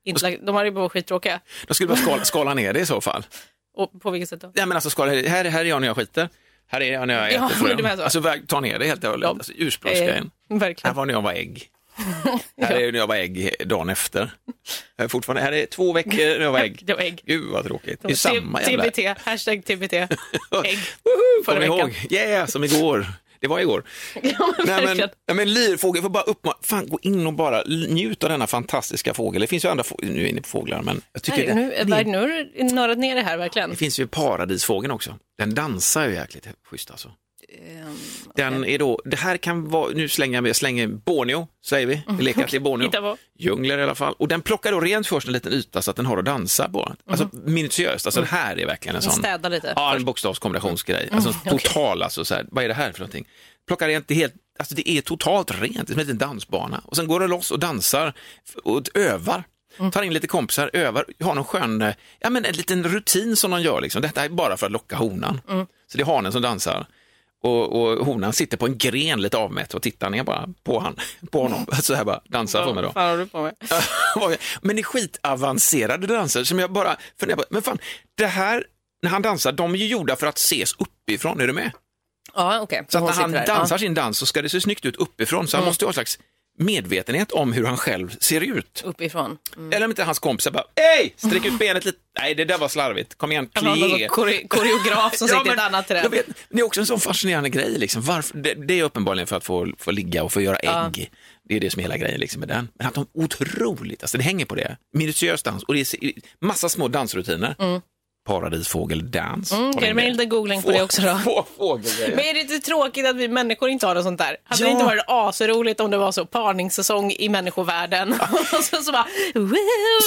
Speaker 2: inte, lagt- de hade ju bara varit skittråkiga.
Speaker 1: Då skulle jag bara skala, skala ner det i så fall.
Speaker 2: Och på vilket sätt då?
Speaker 1: Ja, men alltså, skala, här, här är jag när jag skiter. Här är jag när jag
Speaker 2: *laughs*
Speaker 1: äter
Speaker 2: Ja,
Speaker 1: frön.
Speaker 2: du menar så.
Speaker 1: Alltså, väg- ta ner det helt och hållet.
Speaker 2: Ja.
Speaker 1: Alltså, ursprungsgrejen.
Speaker 2: Eh, *laughs*
Speaker 1: Här
Speaker 2: verkligen.
Speaker 1: var när jag var ägg.
Speaker 2: *laughs*
Speaker 1: Här är när jag var ägg dagen efter. Här är, fortfarande, här är två veckor när jag var ägg.
Speaker 2: *laughs* Det var ägg.
Speaker 1: Gud vad tråkigt. Det är
Speaker 2: T-
Speaker 1: ju samma jävla...
Speaker 2: TBT, hashtag
Speaker 1: *laughs*
Speaker 2: TBT. Ägg.
Speaker 1: Woho,
Speaker 2: Förra
Speaker 1: Kommer ni
Speaker 2: veckan.
Speaker 1: ihåg? Yeah, som igår. Det var igår.
Speaker 2: *laughs* Ja, men
Speaker 1: Nej, men,
Speaker 2: verkligen.
Speaker 1: nej, men lirfågel, får bara uppmana, fan gå in och bara l- njut av denna fantastiska fågel. Det finns ju andra fåglar, nu är jag inne på fåglar, men jag tycker
Speaker 2: Nej,
Speaker 1: det,
Speaker 2: nu,
Speaker 1: det,
Speaker 2: Edvard, nu har du nördat ner det här verkligen.
Speaker 1: det finns ju paradisfågeln också. Den dansar ju jäkligt schysst alltså.
Speaker 2: Ehm,
Speaker 1: Den är då, det här kan vara, nu slänger jag med, jag slänger Borneo, säger vi. Vi leker att det är Borneo.
Speaker 2: Mm. Hitta på.
Speaker 1: Djungler i alla fall. Och den plockar då rent först en liten yta så att den har att dansa på. Alltså
Speaker 2: Mm.
Speaker 1: minutiöst, alltså det här är verkligen en sån.
Speaker 2: Städa lite.
Speaker 1: Ja, en bokstavskombinationsgrej. Alltså total, alltså så här, vad är det här för någonting? Plockar rent, det är helt, alltså det är totalt rent, det är som en liten dansbana. Och sen går den loss och dansar och övar. Tar in lite kompisar, övar, har någon skön, eh, ja men en liten rutin som de gör liksom. Detta är bara för att locka honan. Så det är hanen som dansar. Och, och honan sitter på en gren lite avmätt och tittar ner bara på, han, på honom. Så här bara, dansar för mig då.
Speaker 2: Vad fan har du på med?
Speaker 1: *laughs* Men det är skitavancerade danser som jag bara funderar på. Men fan, det här, när han dansar, de är ju gjorda för att ses uppifrån, är du med?
Speaker 2: Ja, okej.
Speaker 1: Så att
Speaker 2: Hon
Speaker 1: när han
Speaker 2: sitter där. Ja.
Speaker 1: dansar sin dans så ska det se snyggt ut uppifrån, så han måste ju ha en slags medvetenhet om hur han själv ser ut.
Speaker 2: Uppifrån.
Speaker 1: Eller om inte hans kompisar bara, hej, sträck ut benet lite. Nej, det där var slarvigt. Kom igen,
Speaker 2: Han har någon
Speaker 1: plie.
Speaker 2: sån kore-
Speaker 1: *laughs*
Speaker 2: koreograf som sitter i
Speaker 1: men
Speaker 2: ett annat
Speaker 1: jag
Speaker 2: träd.
Speaker 1: vet, det är också en sån fascinerande grej. Liksom. Varför, det, det är uppenbarligen för att få, få ligga och få göra ägg. Det är det som är hela grejen liksom, med den. Men att de otroligt, alltså det hänger på det. Minutiös dans och det är se- massa små dansrutiner. Paradisfågeldans.
Speaker 2: Mm, okej, men en liten googling på det också då.
Speaker 1: Få, fågelgrejer.
Speaker 2: *laughs* Men är det inte tråkigt att vi människor inte har något sånt där? Hade det
Speaker 1: Ja.
Speaker 2: inte varit asroligt om det var så parningssäsong
Speaker 1: *laughs*
Speaker 2: i människovärlden? och så, så bara... "Woo!"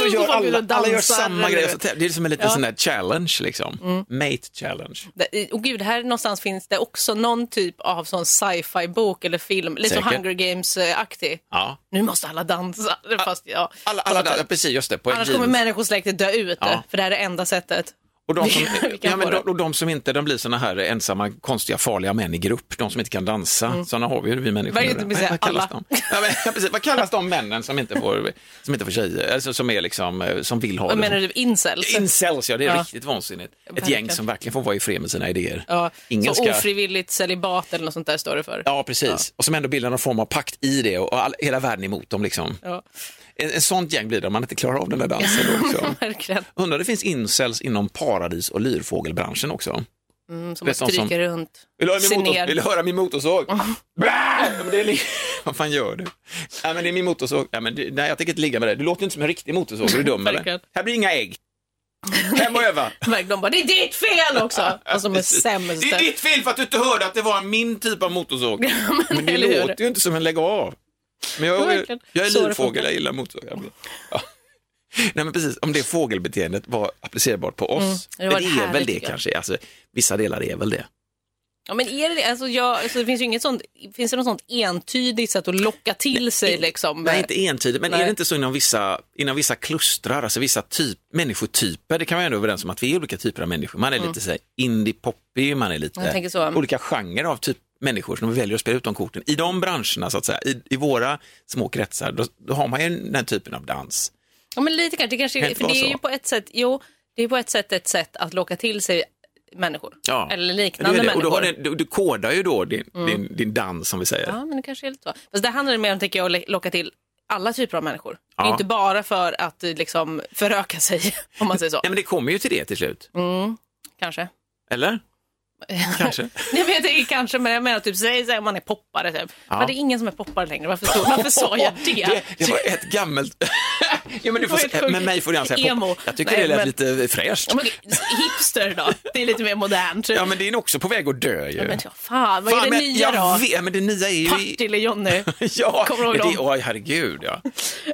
Speaker 1: Så gör
Speaker 2: folk vill
Speaker 1: alla,
Speaker 2: och
Speaker 1: alla gör
Speaker 2: dansar,
Speaker 1: samma
Speaker 2: eller
Speaker 1: grej.
Speaker 2: du
Speaker 1: Så
Speaker 2: vet.
Speaker 1: tä- Det är som en liten
Speaker 2: Ja. Mm.
Speaker 1: sån där challenge, liksom. mate challenge.
Speaker 2: Det- i- Och gud, här någonstans finns det också någon typ av sån sci-fi bok eller film, lite som
Speaker 1: Säkert.
Speaker 2: Hunger Games-aktig.
Speaker 1: Ja.
Speaker 2: Nu måste alla dansa. Fast, ja.
Speaker 1: Alla, alla, alla, precis, just det. På en
Speaker 2: Annars
Speaker 1: jeans.
Speaker 2: kommer människosläktet dö ut,
Speaker 1: Ja.
Speaker 2: för det här är det enda sättet.
Speaker 1: Och de, som,
Speaker 2: Vi- vi kan
Speaker 1: ja, men
Speaker 2: få
Speaker 1: de,
Speaker 2: det.
Speaker 1: och de som inte, de blir såna här ensamma, konstiga, farliga män i grupp. De som inte kan dansa.
Speaker 2: Mm.
Speaker 1: Såna har vi ju vi människor.
Speaker 2: Varje
Speaker 1: nu.
Speaker 2: typ vill säga
Speaker 1: vad kallas
Speaker 2: alla.
Speaker 1: de? Ja, men, ja, precis. Vad kallas de männen som inte får, som inte får tjejer? Alltså, som är liksom, eh, som vill ha
Speaker 2: Vad
Speaker 1: det?
Speaker 2: menar du? Incels?
Speaker 1: Incels, ja det är
Speaker 2: Ja.
Speaker 1: riktigt vansinnigt. Ett
Speaker 2: Verkligen.
Speaker 1: gäng som verkligen får vara i fred med sina idéer.
Speaker 2: Ja,
Speaker 1: Ingen
Speaker 2: så
Speaker 1: ska...
Speaker 2: ofrivilligt celibat eller något sånt där står det för.
Speaker 1: Ja, precis. Och som ändå bildar någon form av pakt i det och all, hela världen emot dem. Liksom.
Speaker 2: Ja. *laughs*
Speaker 1: En, en sånt gäng blir det om man inte klarar av den där dansen. Då,
Speaker 2: *laughs*
Speaker 1: också.
Speaker 2: Verkligen.
Speaker 1: Undrar, det finns incels inom paradis och lyrfågelbranschen också.
Speaker 2: Mm, som
Speaker 1: Vet
Speaker 2: man
Speaker 1: någon som-
Speaker 2: stryker runt.
Speaker 1: Vill du höra
Speaker 2: Se
Speaker 1: min, motor,
Speaker 2: ner.
Speaker 1: vill du höra min motorsåg? Bää! Men det är li- *laughs* Vad fan gör du? Nej, men det är min motorsåg. Nej, men du, nej, jag tänker inte ligga med dig. Du låter ju inte som en riktig motorsåg. Är du
Speaker 2: *laughs*
Speaker 1: dum eller?
Speaker 2: Verkligen.
Speaker 1: Här blir inga ägg. Hem och öva.
Speaker 2: Verkligen, De bara, det är ditt
Speaker 1: *laughs*
Speaker 2: fel också! Alltså de är sämst.
Speaker 1: Det är
Speaker 2: *laughs*
Speaker 1: ditt fel för att du inte hörde att det var min typ av motorsåg. Men det
Speaker 2: eller hur?
Speaker 1: låter ju inte som en lägg av. Men jag,
Speaker 2: Verkligen.
Speaker 1: jag är
Speaker 2: Så det
Speaker 1: livfågel,
Speaker 2: funkar.
Speaker 1: jag gillar motorsågar. Ja. Nej men precis, om det fågelbeteendet var applicerbart på oss.
Speaker 2: Mm.
Speaker 1: E
Speaker 2: det var
Speaker 1: det
Speaker 2: det
Speaker 1: är
Speaker 2: här
Speaker 1: väl
Speaker 2: vi
Speaker 1: det
Speaker 2: tycker.
Speaker 1: kanske, alltså, vissa delar är väl det.
Speaker 2: Ja, men är det det? Alltså, jag, alltså, det finns ju inget sånt, finns det något sånt entydigt sätt att locka till sig liksom?
Speaker 1: Nej, inte entydigt, men är
Speaker 2: Nej.
Speaker 1: det inte så inom vissa, inom vissa klustrar, alltså vissa typ, människotyper, det kan man ändå vara överens om att vi är olika typer av människor. Man är lite så här indie-poppig, man är
Speaker 2: Mm. Jag
Speaker 1: lite
Speaker 2: tänker så.
Speaker 1: olika genrer av typ människor som väljer att spela ut de korten. I de branscherna, så att säga, i, i våra små kretsar, då, då har man ju den typen av dans.
Speaker 2: Ja, men lite kanske. Det,
Speaker 1: Kan
Speaker 2: kanske,
Speaker 1: inte
Speaker 2: för det
Speaker 1: vara
Speaker 2: är ju
Speaker 1: så.
Speaker 2: på ett sätt, jo, det är på ett sätt ett sätt att locka till sig människor.
Speaker 1: Ja.
Speaker 2: Eller
Speaker 1: Det är
Speaker 2: liknande
Speaker 1: det. Och
Speaker 2: människor. Mm.
Speaker 1: då har den, du, du kodar ju då din, din, din dans, som vi säger.
Speaker 2: Ja, men det kanske är lite så. Fast det handlar mer om, tänker jag, att le- locka till alla typer av människor. Det är
Speaker 1: Ja.
Speaker 2: inte bara för att eh, liksom föröka sig, *laughs* om man säger så.
Speaker 1: Nej, men det kommer ju till det till slut.
Speaker 2: Mm, kanske. *laughs*
Speaker 1: Eller? Kanske.
Speaker 2: Jag vet inte, kanske, men jag menar typ, säg så här, om man är poppare typ.
Speaker 1: Ja.
Speaker 2: Men det är ingen som är poppare längre, varför, så, varför sa jag
Speaker 1: *laughs* Det,
Speaker 2: det?
Speaker 1: det var ett
Speaker 2: *laughs*
Speaker 1: gammelt... ja, men du
Speaker 2: Det
Speaker 1: får,
Speaker 2: var helt
Speaker 1: se-
Speaker 2: sjukt.
Speaker 1: men mig får du gärna säga
Speaker 2: Emo.
Speaker 1: pop. Jag tycker
Speaker 2: Nej,
Speaker 1: det lät
Speaker 2: men-
Speaker 1: lite fräscht.
Speaker 2: Ja, men, hipster då, det är lite mer modernt.
Speaker 1: Ja, men det är nog också på väg att dö ju.
Speaker 2: Men ja, fan, vad
Speaker 1: Fan,
Speaker 2: är det
Speaker 1: men
Speaker 2: nya
Speaker 1: jag
Speaker 2: då?
Speaker 1: vet- ja, men det nya är ju... *laughs*
Speaker 2: Partille-Jonny.
Speaker 1: ja,
Speaker 2: Kommer du ihåg
Speaker 1: men det,
Speaker 2: dem?
Speaker 1: oj, herregud ja.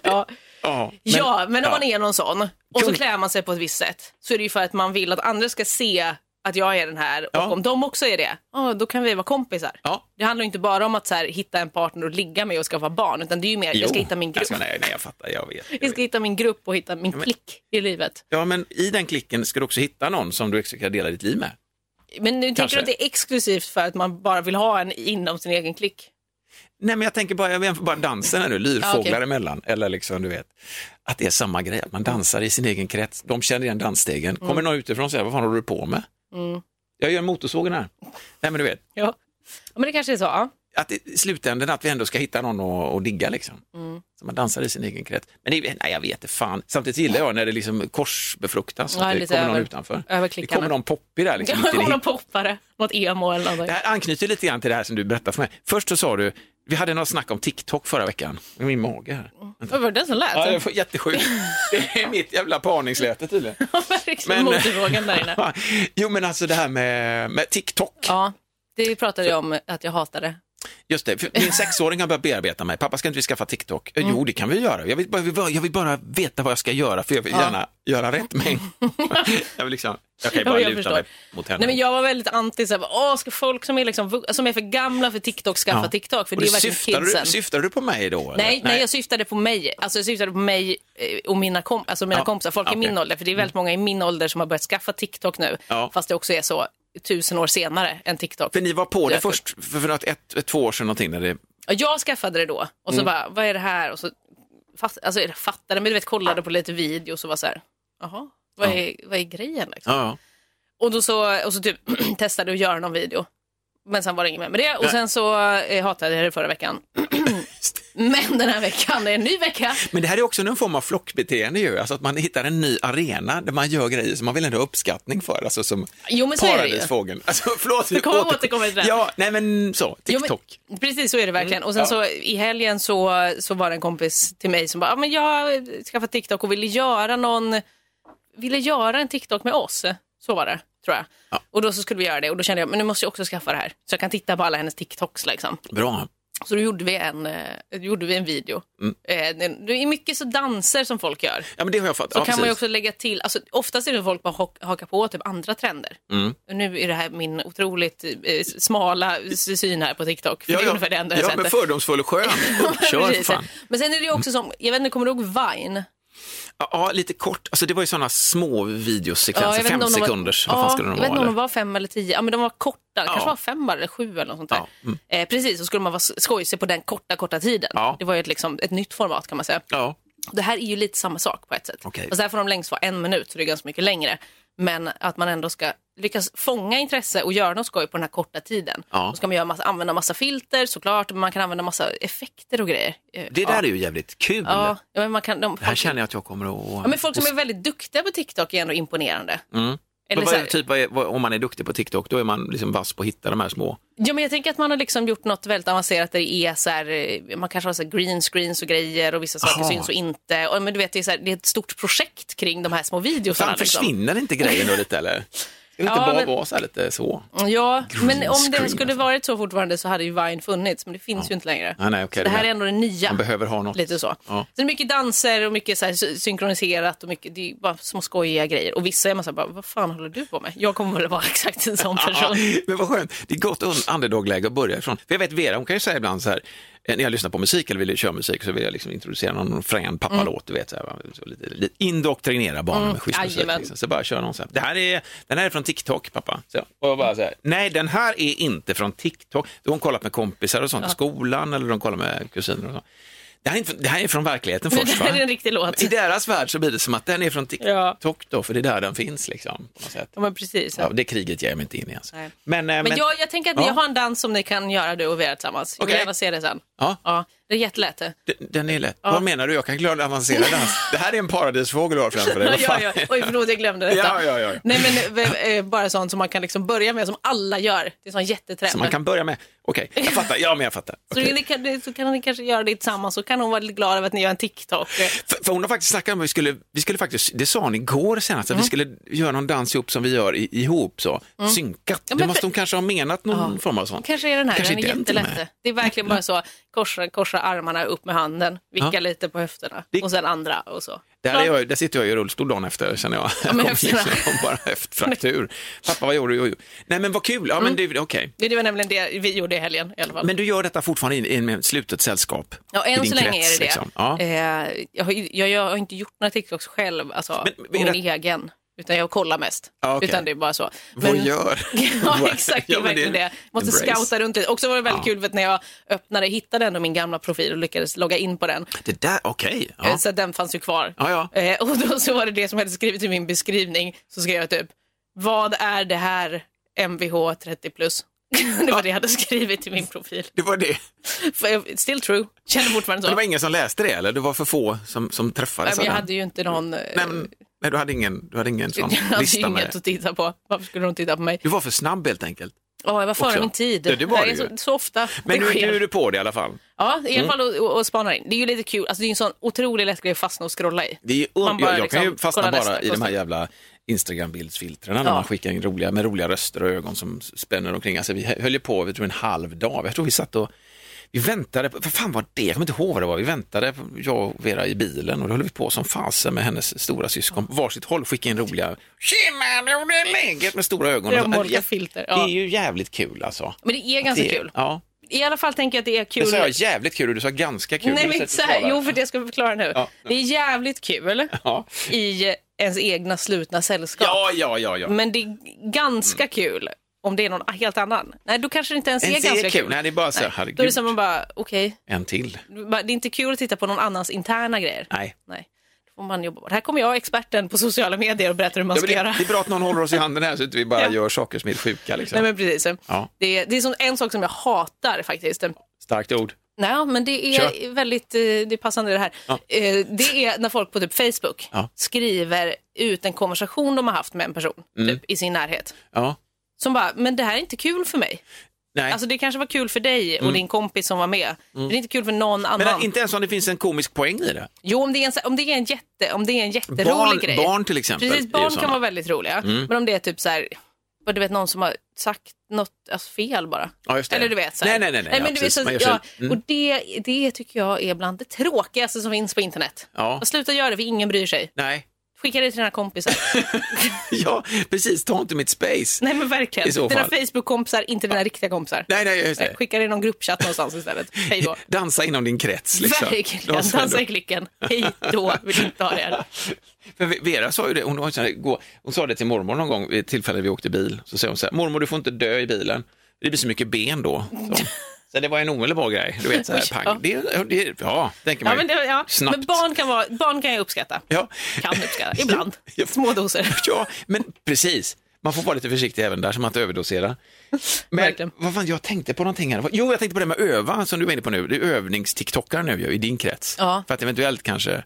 Speaker 2: Ja.
Speaker 1: Ja, men,
Speaker 2: ja, men
Speaker 1: ja.
Speaker 2: om man är någon sån och så
Speaker 1: Kung-
Speaker 2: klär man sig på ett visst sätt så är det ju för att man vill att andra ska se att jag är den här och
Speaker 1: Ja.
Speaker 2: om de också är det, ja, då kan vi vara kompisar.
Speaker 1: Ja.
Speaker 2: Det handlar ju inte bara om att så här, hitta en partner och ligga med och skaffa barn utan det är ju mer,
Speaker 1: Jo.
Speaker 2: jag ska hitta min grupp.
Speaker 1: Alltså, nej, nej, jag fattar, jag vet. Jag
Speaker 2: Jag
Speaker 1: vet.
Speaker 2: ska hitta min grupp och hitta min
Speaker 1: men-
Speaker 2: klick i livet.
Speaker 1: Ja, men i den klicken ska du också hitta någon som du också kan dela ditt liv med.
Speaker 2: Men nu tänker
Speaker 1: Kanske.
Speaker 2: du att det är exklusivt för att man bara vill ha en inom sin egen klick?
Speaker 1: Nej, men jag tänker bara, jag jämför bara dansen här nu, lyrfåglar
Speaker 2: Ja, okej.
Speaker 1: emellan, eller liksom du vet, att det är samma grej, att man dansar i sin egen krets, de känner igen dansstegen,
Speaker 2: Mm.
Speaker 1: kommer någon utifrån och säger, vad fan håller du på med? Jag gör motorsågen här. Nej, men du vet,
Speaker 2: Ja. ja, men det kanske är så. Ja.
Speaker 1: att i slutändan att vi ändå ska hitta någon att, att digga liksom.
Speaker 2: Mm.
Speaker 1: Så man dansar i sin egen krets. Men det, nej, jag vet inte fan. Samtidigt gillar jag när det liksom korsbefruktas,
Speaker 2: Ja,
Speaker 1: att det
Speaker 2: lite
Speaker 1: kommer någon
Speaker 2: över-
Speaker 1: utanför.
Speaker 2: över
Speaker 1: det
Speaker 2: klickarna.
Speaker 1: kommer någon poppig där.
Speaker 2: *laughs*
Speaker 1: Liksom,
Speaker 2: Jag
Speaker 1: mitt i det
Speaker 2: kommer någon poppare, något emo eller något.
Speaker 1: det här anknyter lite grann till det här som du berättade för mig. Först så sa du, vi hade något snack om TikTok förra veckan. Det är Min mage här.
Speaker 2: Vad var det den som lät?
Speaker 1: Ja, det var *laughs* jättesjukt. Det är mitt jävla parningsläte tydligen.
Speaker 2: Verkligen motorvågen liksom där inne.
Speaker 1: jo, men alltså det här med, med TikTok.
Speaker 2: Ja, det pratade jag om att jag hatade.
Speaker 1: Just det, för min sexåring har börjat bearbeta mig. Pappa, ska inte vi skaffa TikTok?
Speaker 2: Mm.
Speaker 1: Eh, Jo, det kan vi göra. Jag vill bara, jag vill bara- jag vill bara veta vad jag ska göra, för jag vill gärna göra rätt
Speaker 2: *laughs*
Speaker 1: mig. jag, vill liksom, jag kan ju
Speaker 2: Ja,
Speaker 1: bara
Speaker 2: jag
Speaker 1: luta
Speaker 2: förstår.
Speaker 1: mig mot henne.
Speaker 2: Nej, men jag var väldigt anti, så här, åh, ska folk som är, liksom, vu- som är för gamla för TikTok skaffa TikTok? För
Speaker 1: Och
Speaker 2: det är
Speaker 1: då
Speaker 2: verkligen
Speaker 1: syftar,
Speaker 2: kidsen.
Speaker 1: du, syftar du på mig då? eller?
Speaker 2: Nej, nej, jag syftade på mig. Alltså jag syftade på mig eh, och mina, kom alltså mina
Speaker 1: Ja,
Speaker 2: kompisar, folk i
Speaker 1: okej. Mm.
Speaker 2: min ålder. För det är väldigt många i min ålder som har börjat skaffa TikTok nu.
Speaker 1: Ja.
Speaker 2: Fast det också är så tusen år senare än TikTok.
Speaker 1: För ni var på det
Speaker 2: Jag-
Speaker 1: först, för för något ett, ett, två år sedan någonting, när det
Speaker 2: Och jag skaffade det då och
Speaker 1: Mm.
Speaker 2: så bara, vad är det här? Och så fast, alltså, jag fattade, men du vet kollade på lite videos och var så här, jaha, vad är, vad är grejen? Liksom?
Speaker 1: Ja,
Speaker 2: Och, då så, och så typ *clears throat* testade jag att göra någon video. Men sen var det inget mer med det. Och sen så eh, hatade jag det förra veckan. *clears throat* Men den här veckan är en ny vecka.
Speaker 1: Men det här är också en form av flockbeteende ju, alltså att man hittar en ny arena där man gör grejer som man vill ändå ha uppskattning för, alltså som
Speaker 2: Jo, men så är det ju.
Speaker 1: paradisfågeln. Alltså, förlåt,
Speaker 2: Vi kommer återkomma till det.
Speaker 1: Ja, nej men så,
Speaker 2: Jo,
Speaker 1: TikTok. Mm.
Speaker 2: men, precis så är det verkligen. Och sen
Speaker 1: ja.
Speaker 2: så i helgen så, så var det en kompis till mig som bara, ah, men jag har skaffat TikTok och ville göra någon, ville göra en TikTok med oss. Så var det, tror jag. Och då så skulle vi göra det och då kände jag, men nu måste jag också skaffa det här. Så jag kan titta på alla hennes TikToks liksom.
Speaker 1: Bra.
Speaker 2: Så då gjorde vi en, eh, gjorde vi en video.
Speaker 1: Mm.
Speaker 2: Eh, den- det är mycket så danser som folk gör.
Speaker 1: Ja, men det har jag fattat.
Speaker 2: Så
Speaker 1: ja,
Speaker 2: kan man ju
Speaker 1: precis.
Speaker 2: också lägga till, alltså, oftast är det folk bara hock- hakar på typ andra trender.
Speaker 1: Mm.
Speaker 2: Och Nu är det här min otroligt eh, smala s- syn här på TikTok. För det är ungefär det enda jag
Speaker 1: ja,
Speaker 2: sett.
Speaker 1: men fördomsfull och
Speaker 2: *laughs*
Speaker 1: skön. Kör för
Speaker 2: Precis.
Speaker 1: fan.
Speaker 2: Men sen är det ju också som, jag vet inte, kommer du ihåg Vine?
Speaker 1: Ja, Ja, lite kort. Alltså, det var ju sådana små videosekvenser,
Speaker 2: jag vet
Speaker 1: fem
Speaker 2: inte om de var-
Speaker 1: sekunders.
Speaker 2: Ja,
Speaker 1: Vad fan skulle
Speaker 2: jag
Speaker 1: de
Speaker 2: vet inte
Speaker 1: vara?
Speaker 2: om de
Speaker 1: eller?
Speaker 2: var fem eller tio, ja men de var korta, Det kanske
Speaker 1: Ja.
Speaker 2: var fem eller sju eller något sånt där.
Speaker 1: Ja, mm.
Speaker 2: Eh, precis, så skulle man vara s- skojsig på den korta, korta tiden.
Speaker 1: Ja.
Speaker 2: Det var ju ett, liksom, ett nytt format kan man säga.
Speaker 1: Ja.
Speaker 2: Det här är ju lite samma sak på ett sätt.
Speaker 1: Okej.
Speaker 2: Fast där får de längst vara en minut, så det är ganska mycket längre. Men att man ändå ska lyckas fånga intresse och göra något skoj på den här korta tiden.
Speaker 1: Ja.
Speaker 2: Då ska man göra massa, använda massa filter såklart, men man kan använda massa effekter och grejer. Eh,
Speaker 1: Det där är ju jävligt kul.
Speaker 2: Ja, ja men man kan... De,
Speaker 1: Det här känner jag att jag kommer att...
Speaker 2: Ja, men folk som är väldigt duktiga på TikTok är ändå imponerande.
Speaker 1: Mm.
Speaker 2: Eller
Speaker 1: Men
Speaker 2: så
Speaker 1: vad, är-
Speaker 2: här,
Speaker 1: typ, vad är, vad, om man är duktig på TikTok, då är man liksom vass på att hitta de här små.
Speaker 2: ja, men jag tänker att man har liksom gjort något väldigt avancerat där det är så här, eh, man kanske har så här green screens och grejer och vissa saker
Speaker 1: Aha.
Speaker 2: syns och inte. Och, men du vet, det, är så här, det är ett stort projekt kring de här små videosarna.
Speaker 1: Fan,
Speaker 2: liksom.
Speaker 1: försvinner inte grejen då lite eller? Ska Kan det inte
Speaker 2: *laughs* Ja,
Speaker 1: bara
Speaker 2: men-
Speaker 1: vara så här lite så?
Speaker 2: Ja, men
Speaker 1: Green
Speaker 2: om det
Speaker 1: screen,
Speaker 2: skulle
Speaker 1: alltså.
Speaker 2: varit så fortfarande så hade ju Vine funnits, men det finns ju inte längre.
Speaker 1: Nej, nej, okej,
Speaker 2: så det här
Speaker 1: men-
Speaker 2: är ändå det nya.
Speaker 1: Man behöver ha något.
Speaker 2: Lite så. *laughs*
Speaker 1: Ja.
Speaker 2: så det är mycket danser och mycket så här sy- synkroniserat och mycket, det är ju bara små skojiga grejer. Och vissa är man så här, bara, vad fan håller du på med? Jag kommer väl vara *laughs* exakt en sån person. *laughs*
Speaker 1: Ja, men vad skönt, det är ett gott un- underdog-läge att börja ifrån. För jag vet Vera, hon kan ju säga ibland så här, eh, när jag lyssnar på musik eller vill köra musik så vill jag liksom introducera någon frän
Speaker 2: Mm.
Speaker 1: pappalåt, du vet, så här, va? så lite, lite indoktrinera barnen med schysst musik.
Speaker 2: jajamän.
Speaker 1: Liksom. Så bara kör någon så här, det här är, den här är från TikTok pappa. Så, och jag bara så här, nej den här är inte från TikTok. Då har hon kollat med kompisar och sånt i skolan eller de kollar med kusiner och så. Det här är, inte, det här är från
Speaker 2: *laughs*
Speaker 1: verkligheten
Speaker 2: Men
Speaker 1: först
Speaker 2: det här
Speaker 1: va?
Speaker 2: är en riktig låt.
Speaker 1: I deras värld så blir det som att den är från TikTok
Speaker 2: Ja.
Speaker 1: då, för det är där den finns liksom. På något sätt.
Speaker 2: Ja, men precis.
Speaker 1: Ja, det kriget ger jag mig inte in i. Alltså.
Speaker 2: Nej.
Speaker 1: Men, eh,
Speaker 2: Men jag, jag tänker att ni
Speaker 1: Ja.
Speaker 2: har en dans som ni kan göra du och Vera tillsammans. Jag vill
Speaker 1: Okej.
Speaker 2: gärna se det sen.
Speaker 1: Ja.
Speaker 2: Ja, det är jättelätt det.
Speaker 1: d- Den är lätt. Vad menar du? Jag kan glömma avancera dans. Det här är en paradisfågel du har framför dig.
Speaker 2: *laughs* Ja,
Speaker 1: Vad
Speaker 2: ja,
Speaker 1: fan?
Speaker 2: ja. Oj, förlåt, jag glömde detta.
Speaker 1: Ja, ja, ja.
Speaker 2: Nej, men eh, eh, bara sånt som man kan liksom börja med, som alla gör. Det är en sån jättetrend.
Speaker 1: Så man kan börja med. Okej, jag fattar. Ja, men jag fattar.
Speaker 2: Så,
Speaker 1: Okej.
Speaker 2: ni kan, det- så kan ni kanske göra det tillsammans, så kan hon vara lite glad över att ni gör en TikTok.
Speaker 1: För, för hon har faktiskt snackat om att vi skulle, vi skulle faktiskt, det sa hon igår senast, att
Speaker 2: Mm.
Speaker 1: vi skulle göra någon dans ihop som vi gör i, ihop så, synkat.
Speaker 2: men
Speaker 1: det
Speaker 2: för-
Speaker 1: måste hon kanske ha menat någon form av sånt.
Speaker 2: Kanske är den här,
Speaker 1: Kanske
Speaker 2: den är
Speaker 1: är den till och med.
Speaker 2: jättelätt. Det är verkligen bara så, korsa, korsa armarna upp med handen, vicka
Speaker 1: Ja.
Speaker 2: lite på höfterna
Speaker 1: Det-
Speaker 2: och sen andra och så.
Speaker 1: Där, är jag, där sitter jag i rullstol dagen efter känner jag. jag
Speaker 2: men
Speaker 1: kom
Speaker 2: höfterna.
Speaker 1: liksom, bara höftfraktur. Pappa, vad gjorde du? Jo, jo. Nej, men vad kul. Ja, men
Speaker 2: Mm.
Speaker 1: det, okej.
Speaker 2: Det det var nämligen det vi gjorde i helgen i alla fall.
Speaker 1: Men du gör detta fortfarande i, i ett slutet sällskap?
Speaker 2: ja,
Speaker 1: I
Speaker 2: än
Speaker 1: din
Speaker 2: så länge
Speaker 1: krets,
Speaker 2: är det det.
Speaker 1: liksom. Ja.
Speaker 2: Eh, jag, har, ju- jag, jag har inte gjort några TikToks själv, alltså
Speaker 1: Men- men är
Speaker 2: min egen. Utan jag kollar mest.
Speaker 1: Ja, okej.
Speaker 2: Utan det är bara så.
Speaker 1: Vad
Speaker 2: Men-
Speaker 1: gör?
Speaker 2: *laughs* Ja, exakt. Det är
Speaker 1: Ja, men det är
Speaker 2: verkligen det. Jag måste
Speaker 1: embrace.
Speaker 2: scouta runt lite. Också var det väldigt kul vet, när jag öppnade, hittade ändå min gamla profil och lyckades logga in på den.
Speaker 1: Det där, okej.
Speaker 2: Eh,
Speaker 1: Ja.
Speaker 2: Så att den fanns ju kvar.
Speaker 1: Ja, ja.
Speaker 2: Eh, Och då så var det det som jag hade skrivit i min beskrivning. Så skrev jag typ, vad är det här MVH 30 plus? *laughs* det var det jag hade skrivit i min profil.
Speaker 1: Det var det.
Speaker 2: För jag- Still true, känner fortfarande
Speaker 1: Men
Speaker 2: så.
Speaker 1: det var ingen som läste det eller? Det var för få som, som
Speaker 2: Nej,
Speaker 1: träffades
Speaker 2: men jag
Speaker 1: av den?
Speaker 2: hade ju inte någon, eh,
Speaker 1: Nej, men, nej, du hade ingen, du hade ingen sån
Speaker 2: *laughs* jag hade ju
Speaker 1: lista med
Speaker 2: inget
Speaker 1: det.
Speaker 2: att titta på. Varför skulle de titta på mig?
Speaker 1: Du var för snabb helt enkelt.
Speaker 2: Ja, jag var före
Speaker 1: Också.
Speaker 2: min tid.
Speaker 1: Ja, det var
Speaker 2: är
Speaker 1: det ju.
Speaker 2: så, så ofta
Speaker 1: Men
Speaker 2: det
Speaker 1: nu,
Speaker 2: sker.
Speaker 1: nu är du på det i alla fall.
Speaker 2: Ja,
Speaker 1: Mm.
Speaker 2: i alla fall och, och, och spanar in. Det är ju lite kul. Alltså, det är en sån otroligt lätt grej att fastna och scrolla i.
Speaker 1: Det är, ju un-
Speaker 2: Man bara
Speaker 1: jag, jag kan
Speaker 2: liksom
Speaker 1: ju fastna
Speaker 2: kollar
Speaker 1: bara
Speaker 2: nästa,
Speaker 1: i de
Speaker 2: kostar.
Speaker 1: här jävla Instagram-bildsfiltren när
Speaker 2: Ja.
Speaker 1: man skickar in roliga, med roliga röster och ögon som spänner omkring. Alltså, vi höll ju på vi tror, en halv dag. Jag tror vi satt och vi väntade, på, vad fan var det? Jag kommer inte ihåg vad det var. Vi väntade, på- jag och Vera i bilen och då höll vi på som fasen med hennes stora syskon på varsitt håll. Skicka in roliga, tjena, nu är det läget med stora ögon.
Speaker 2: Det är
Speaker 1: Och så-
Speaker 2: de olika filter, ja.
Speaker 1: Det är ju jävligt kul alltså.
Speaker 2: Men det är ganska
Speaker 1: Det-
Speaker 2: kul.
Speaker 1: Ja,
Speaker 2: I alla fall tänker jag att det är kul.
Speaker 1: det sa jag jävligt kul och du sa ganska kul.
Speaker 2: Nej,
Speaker 1: Du
Speaker 2: men
Speaker 1: sätter
Speaker 2: inte så här.
Speaker 1: skalan.
Speaker 2: Jo, för det ska vi förklara nu.
Speaker 1: Ja.
Speaker 2: Det är jävligt kul
Speaker 1: Ja.
Speaker 2: i ens egna slutna sällskap.
Speaker 1: ja, ja, ja, ja. Mm.
Speaker 2: Men det är ganska kul om det är någon helt annan. Nej, då kanske det inte ens är
Speaker 1: Ens är
Speaker 2: ganska
Speaker 1: kul. Nej, det är bara så här,
Speaker 2: Nej. Då är det
Speaker 1: herregud.
Speaker 2: som man bara, okej,
Speaker 1: En till.
Speaker 2: Bara, det är inte kul att titta på någon annans interna grejer.
Speaker 1: Nej.
Speaker 2: Nej. Då får man jobba bort. Här kommer jag, experten på sociala medier, och berättar hur man
Speaker 1: Ja,
Speaker 2: ska
Speaker 1: men det,
Speaker 2: göra.
Speaker 1: det är bra att någon håller oss i handen här så att vi bara
Speaker 2: Ja.
Speaker 1: gör saker som är helt sjuka. Liksom.
Speaker 2: Nej, men precis.
Speaker 1: Ja.
Speaker 2: Det, det är som, en sak som jag hatar faktiskt.
Speaker 1: Starkt ord.
Speaker 2: Nej, men det är
Speaker 1: Kör.
Speaker 2: väldigt eh, det är passande det här. Eh, Det är när folk på typ Facebook
Speaker 1: Ja.
Speaker 2: skriver ut en konversation de har haft med en person
Speaker 1: Mm.
Speaker 2: typ, i sin närhet.
Speaker 1: Ja.
Speaker 2: Som bara, men det här är inte kul för mig.
Speaker 1: Nej. Mm.
Speaker 2: Alltså det kanske var kul för dig och din kompis som var med. Men det är inte kul för någon annan.
Speaker 1: men inte ens om det finns en komisk poäng i det.
Speaker 2: Jo, om det är en, så- om det är en, jätte, om det är en jätterolig
Speaker 1: Barn,
Speaker 2: grej.
Speaker 1: barn till exempel. är
Speaker 2: Precis,
Speaker 1: ju
Speaker 2: barn
Speaker 1: såna. Mm.
Speaker 2: kan vara väldigt roliga. Men om det är typ så här, vad du vet någon som har sagt något alltså, fel bara.
Speaker 1: Ja, just det.
Speaker 2: Eller du vet så här.
Speaker 1: Nej, nej, nej, nej, ja,
Speaker 2: men du vet,
Speaker 1: precis.
Speaker 2: så,
Speaker 1: Man gör
Speaker 2: ja,
Speaker 1: sig- mm.
Speaker 2: Och det, det tycker jag är bland det tråkigaste som finns på internet.
Speaker 1: Ja.
Speaker 2: Och Sluta göra det för ingen bryr sig.
Speaker 1: Nej, *laughs*
Speaker 2: Skicka det till dina kompisar.
Speaker 1: ja, precis. Ta inte mitt space.
Speaker 2: nej men verkligen.
Speaker 1: I så
Speaker 2: Dina
Speaker 1: fall.
Speaker 2: Facebook-kompisar, inte dina riktiga kompisar.
Speaker 1: Nej, nej, just det.
Speaker 2: Skicka det i någon gruppchatt
Speaker 1: *laughs*
Speaker 2: någonstans istället. Hej då.
Speaker 1: Dansa inom din krets. Liksom.
Speaker 2: Verkligen,
Speaker 1: Låt oss ändå-
Speaker 2: dansa i klicken. Hej då, vill inte ha det
Speaker 1: *laughs*
Speaker 2: här.
Speaker 1: För Vera sa ju det, hon, har en sån här, gå, hon sa det till mormor någon gång vid ett tillfälle vi åkte bil. Så säger hon så här, mormor du får inte dö i bilen, det blir så mycket ben då.
Speaker 2: *laughs*
Speaker 1: Så, så det var en omedelbar grej, du vet så här,
Speaker 2: Ja.
Speaker 1: pang. Det, det, ja, tänker man
Speaker 2: Ja,
Speaker 1: ju.
Speaker 2: men, det, ja.
Speaker 1: Snabbt.
Speaker 2: men barn, kan vara, barn kan jag uppskatta.
Speaker 1: Ja.
Speaker 2: Kan uppskatta, ibland.
Speaker 1: *laughs* Ja.
Speaker 2: Små doser.
Speaker 1: *laughs* Ja, men precis. Man får vara lite försiktig även där så man inte överdoserar. Men
Speaker 2: Verkligen.
Speaker 1: vad fan, jag tänkte på någonting här. Jo, jag tänkte på det med öva som du var inne på nu. Det är övningstiktokare nu ju, i din krets.
Speaker 2: Ja.
Speaker 1: För att eventuellt kanske...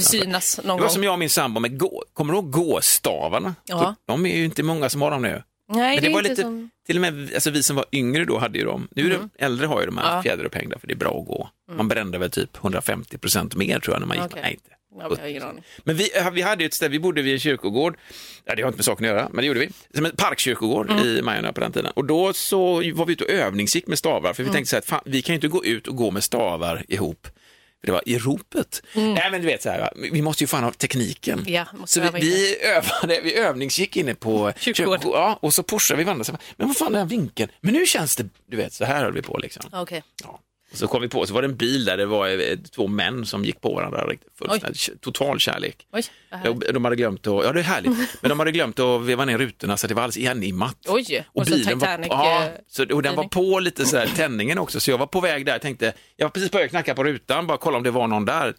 Speaker 2: Synas någon
Speaker 1: Det var
Speaker 2: gång.
Speaker 1: som jag och min sambo med gå... Kommer du ihåg gåstavarna?
Speaker 2: Ja.
Speaker 1: De är ju inte många som har dem nu.
Speaker 2: Nej,
Speaker 1: Men det,
Speaker 2: är
Speaker 1: var
Speaker 2: inte
Speaker 1: lite,
Speaker 2: som- Mm.
Speaker 1: till och med alltså, vi som var yngre då hade ju dem. Nu är det, äldre har ju de här fjäderupphängda för det är bra att gå. Man brände väl typ 150 procent mer tror jag när man gick.
Speaker 2: Okej.
Speaker 1: Nej, inte.
Speaker 2: Ja, jag har ingen aning.
Speaker 1: Men vi, eh, vi hade ju ett ställe, vi bodde vid en kyrkogård, ja, det har inte med saken att göra, men det gjorde vi, som en parkkyrkogård i Majorna på den tiden. Och då så var vi ute och övningsgick med stavar, för vi tänkte så här, att fan, vi kan ju inte gå ut och gå med stavar ihop. För Det var i ropet. Nej men du vet så här, va, vi måste ju fan ha tekniken.
Speaker 2: Ja, måste
Speaker 1: så vi,
Speaker 2: öva in
Speaker 1: vi övade, vi övningsgick inne på
Speaker 2: Kyrkogård.
Speaker 1: kyrkogård, ja, och så pushade vi varandra. Så här, Men vad fan den här vinkeln, men nu känns det, du vet så här höll vi på liksom.
Speaker 2: Ja, Okej.
Speaker 1: Ja. Och så kom vi på, så var det en bil där det var eh, två män som gick på varandra. riktigt fullständigt. Total kärlek.
Speaker 2: Oj, vad härligt.
Speaker 1: De hade glömt att, ja det är
Speaker 2: *laughs*
Speaker 1: härligt, men de hade glömt att veva ner rutorna så det var alldeles igenimmat.
Speaker 2: Oj,
Speaker 1: och
Speaker 2: och så
Speaker 1: bilen var,
Speaker 2: Titanic,
Speaker 1: ja,
Speaker 2: eh,
Speaker 1: så, och den var på lite så här, tändningen också, så jag var på väg där, tänkte, jag var precis på väg att knacka på rutan, bara kolla om det var någon där.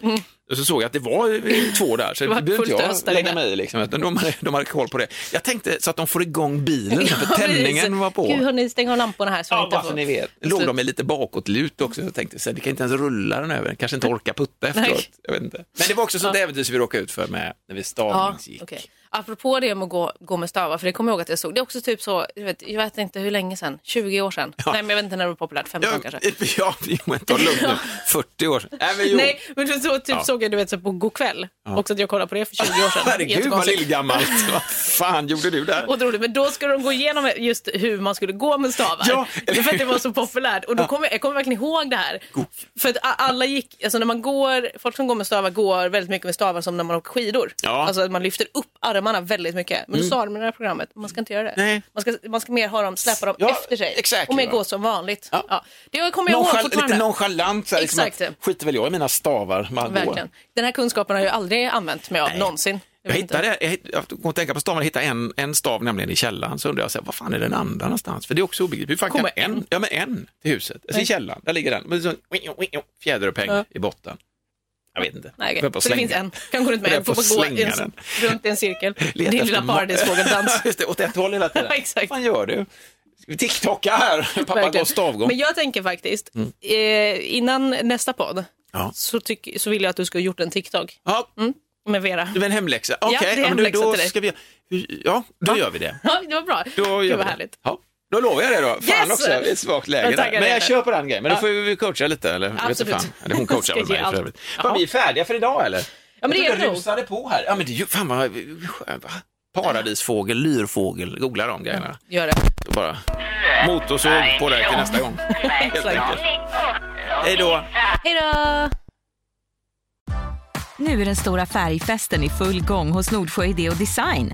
Speaker 1: Och så såg jag att det var eh, två där, så det
Speaker 2: Mm. var
Speaker 1: behövde inte
Speaker 2: fullt ös där
Speaker 1: jag lägga
Speaker 2: inne.
Speaker 1: mig i. Liksom, utan de, hade, de hade koll på det. Jag tänkte så att de får igång bilen, för
Speaker 2: *laughs* Ja, precis.
Speaker 1: tändningen var på.
Speaker 2: Gud, hörni, stäng av lamporna här så vi
Speaker 1: Ja,
Speaker 2: inte
Speaker 1: bara så
Speaker 2: får-
Speaker 1: ni vet.
Speaker 2: Slut.
Speaker 1: Låg de lite bakåtlut också. Jag tänkte så här, det kan inte ens rulla den över. Kanske inte orka putta efteråt. Jag vet inte. Men det var också sånt äventyr vi råkade ut för med när vi
Speaker 2: Ja,
Speaker 1: stavningsgick.
Speaker 2: okej. Apropå det med att gå, gå med stavar, för det kommer jag ihåg att jag såg. Det är också typ så, jag vet, jag vet inte hur länge sedan, 20 år sedan. Nej, men jag vet inte när det var populärt, 15
Speaker 1: Ja,
Speaker 2: kanske.
Speaker 1: *laughs* ja, jo, men ta det lugnt
Speaker 2: *laughs*
Speaker 1: nu. 40 år sedan. Nej, men jo.
Speaker 2: Nej, men så, så typ
Speaker 1: Ja.
Speaker 2: såg jag du vet, så på Go'kväll, också att jag kollade på det för 20 år sedan.
Speaker 1: *laughs* Herregud vad
Speaker 2: Jättekonstigt. *laughs*
Speaker 1: lillgammalt. Vad fan gjorde du där?
Speaker 2: Otroligt, men då skulle de gå igenom just hur man skulle gå med stavar.
Speaker 1: Ja.
Speaker 2: Det är för att det var så populärt. Och då kom jag, jag kommer verkligen ihåg det här. För att a- alla gick, alltså när man går, folk som går med stavar går väldigt mycket med stavar som när man åker skidor.
Speaker 1: Ja. Mm.
Speaker 2: Alltså att man lyfter upp armarna väldigt mycket. Men då sa de i det här programmet, man ska inte göra det.
Speaker 1: Nej.
Speaker 2: Man, ska, man ska mer ha dem, släppa dem
Speaker 1: Ja,
Speaker 2: efter sig.
Speaker 1: exakt,
Speaker 2: och mer
Speaker 1: va?
Speaker 2: gå som vanligt.
Speaker 1: Ja.
Speaker 2: Ja. Det kommer jag ihåg
Speaker 1: Nonchal-
Speaker 2: fortfarande.
Speaker 1: lite nonchalant, så här, liksom
Speaker 2: Exakt.
Speaker 1: att, skiter väl jag i mina stavar. Man går.
Speaker 2: Verkligen. Den här kunskapen har jag aldrig använt mig av någonsin.
Speaker 1: Jag
Speaker 2: vet inte.
Speaker 1: hittade, jag, hitt- jag kom att tänka på stavar, jag hittade en, en stav nämligen i källaren, så undrade jag, så här, vad fan är den andra någonstans? För det är också obegripligt. Hur fan kan
Speaker 2: Kommer en?
Speaker 1: Ja, men en till huset. Alltså, I källaren, där ligger den. Men så, fjäderupphängd
Speaker 2: Ja.
Speaker 1: i botten. Jag vet inte.
Speaker 2: Nej,
Speaker 1: Får jag bara
Speaker 2: okej. så det
Speaker 1: slänga
Speaker 2: finns en. Kan gå runt med
Speaker 1: Får
Speaker 2: en.
Speaker 1: jag
Speaker 2: Får
Speaker 1: bara
Speaker 2: bara gå i
Speaker 1: slänga
Speaker 2: en,
Speaker 1: den?
Speaker 2: runt i en cirkel.
Speaker 1: *laughs* Leta
Speaker 2: Din
Speaker 1: efter
Speaker 2: lilla
Speaker 1: ma-
Speaker 2: paradisfågeldans.
Speaker 1: *laughs* Just det, åt ett håll hela
Speaker 2: *laughs*
Speaker 1: tiden.
Speaker 2: Exakt.
Speaker 1: Vad fan gör du? Ska vi TikToka
Speaker 2: *laughs*
Speaker 1: här? Pappa går
Speaker 2: Verkligen.
Speaker 1: stavgång.
Speaker 2: Men jag tänker faktiskt,
Speaker 1: Mm.
Speaker 2: eh, innan nästa podd
Speaker 1: Ja.
Speaker 2: så, tyck, så vill jag att du ska ha gjort en TikTok Mm.
Speaker 1: Ja,
Speaker 2: med Vera.
Speaker 1: det var en hemläxa. Okej,
Speaker 2: det
Speaker 1: ja,
Speaker 2: är
Speaker 1: men
Speaker 2: hemläxa
Speaker 1: då
Speaker 2: till dig.
Speaker 1: ska vi... hur- Ja, då gör vi det.
Speaker 2: *laughs* Ja, det var bra.
Speaker 1: Då gör
Speaker 2: Gud
Speaker 1: vi
Speaker 2: vad härligt.
Speaker 1: Ja. Då lovar jag det då. Fan
Speaker 2: Yes!
Speaker 1: också, det är ett svagt läge
Speaker 2: Jag
Speaker 1: där.
Speaker 2: taggar
Speaker 1: Men jag
Speaker 2: dig.
Speaker 1: kör på den grejen. Men då
Speaker 2: Ja.
Speaker 1: får vi coacha lite eller? Jag vet inte
Speaker 2: Absolut.
Speaker 1: Fan. Eller hon coachar väl
Speaker 2: *laughs* Ska ge
Speaker 1: mig för
Speaker 2: allt.
Speaker 1: övrigt.
Speaker 2: Ja.
Speaker 1: Fan, vi är färdiga för idag eller?
Speaker 2: Ja, men det
Speaker 1: jag
Speaker 2: är
Speaker 1: trodde
Speaker 2: vi
Speaker 1: jag
Speaker 2: nog.
Speaker 1: rusade på här. Ja men det är ju, fan vad skönt. va? Paradisfågel, lyrfågel, googla de grejerna.
Speaker 2: Gör det.
Speaker 1: Då bara motorsåg på dig till nästa
Speaker 2: *laughs*
Speaker 1: gång. Helt enkelt. Hej då.
Speaker 2: Hej då!
Speaker 3: Nu är den stora färgfesten i full gång hos Nordsjö Idé och Design.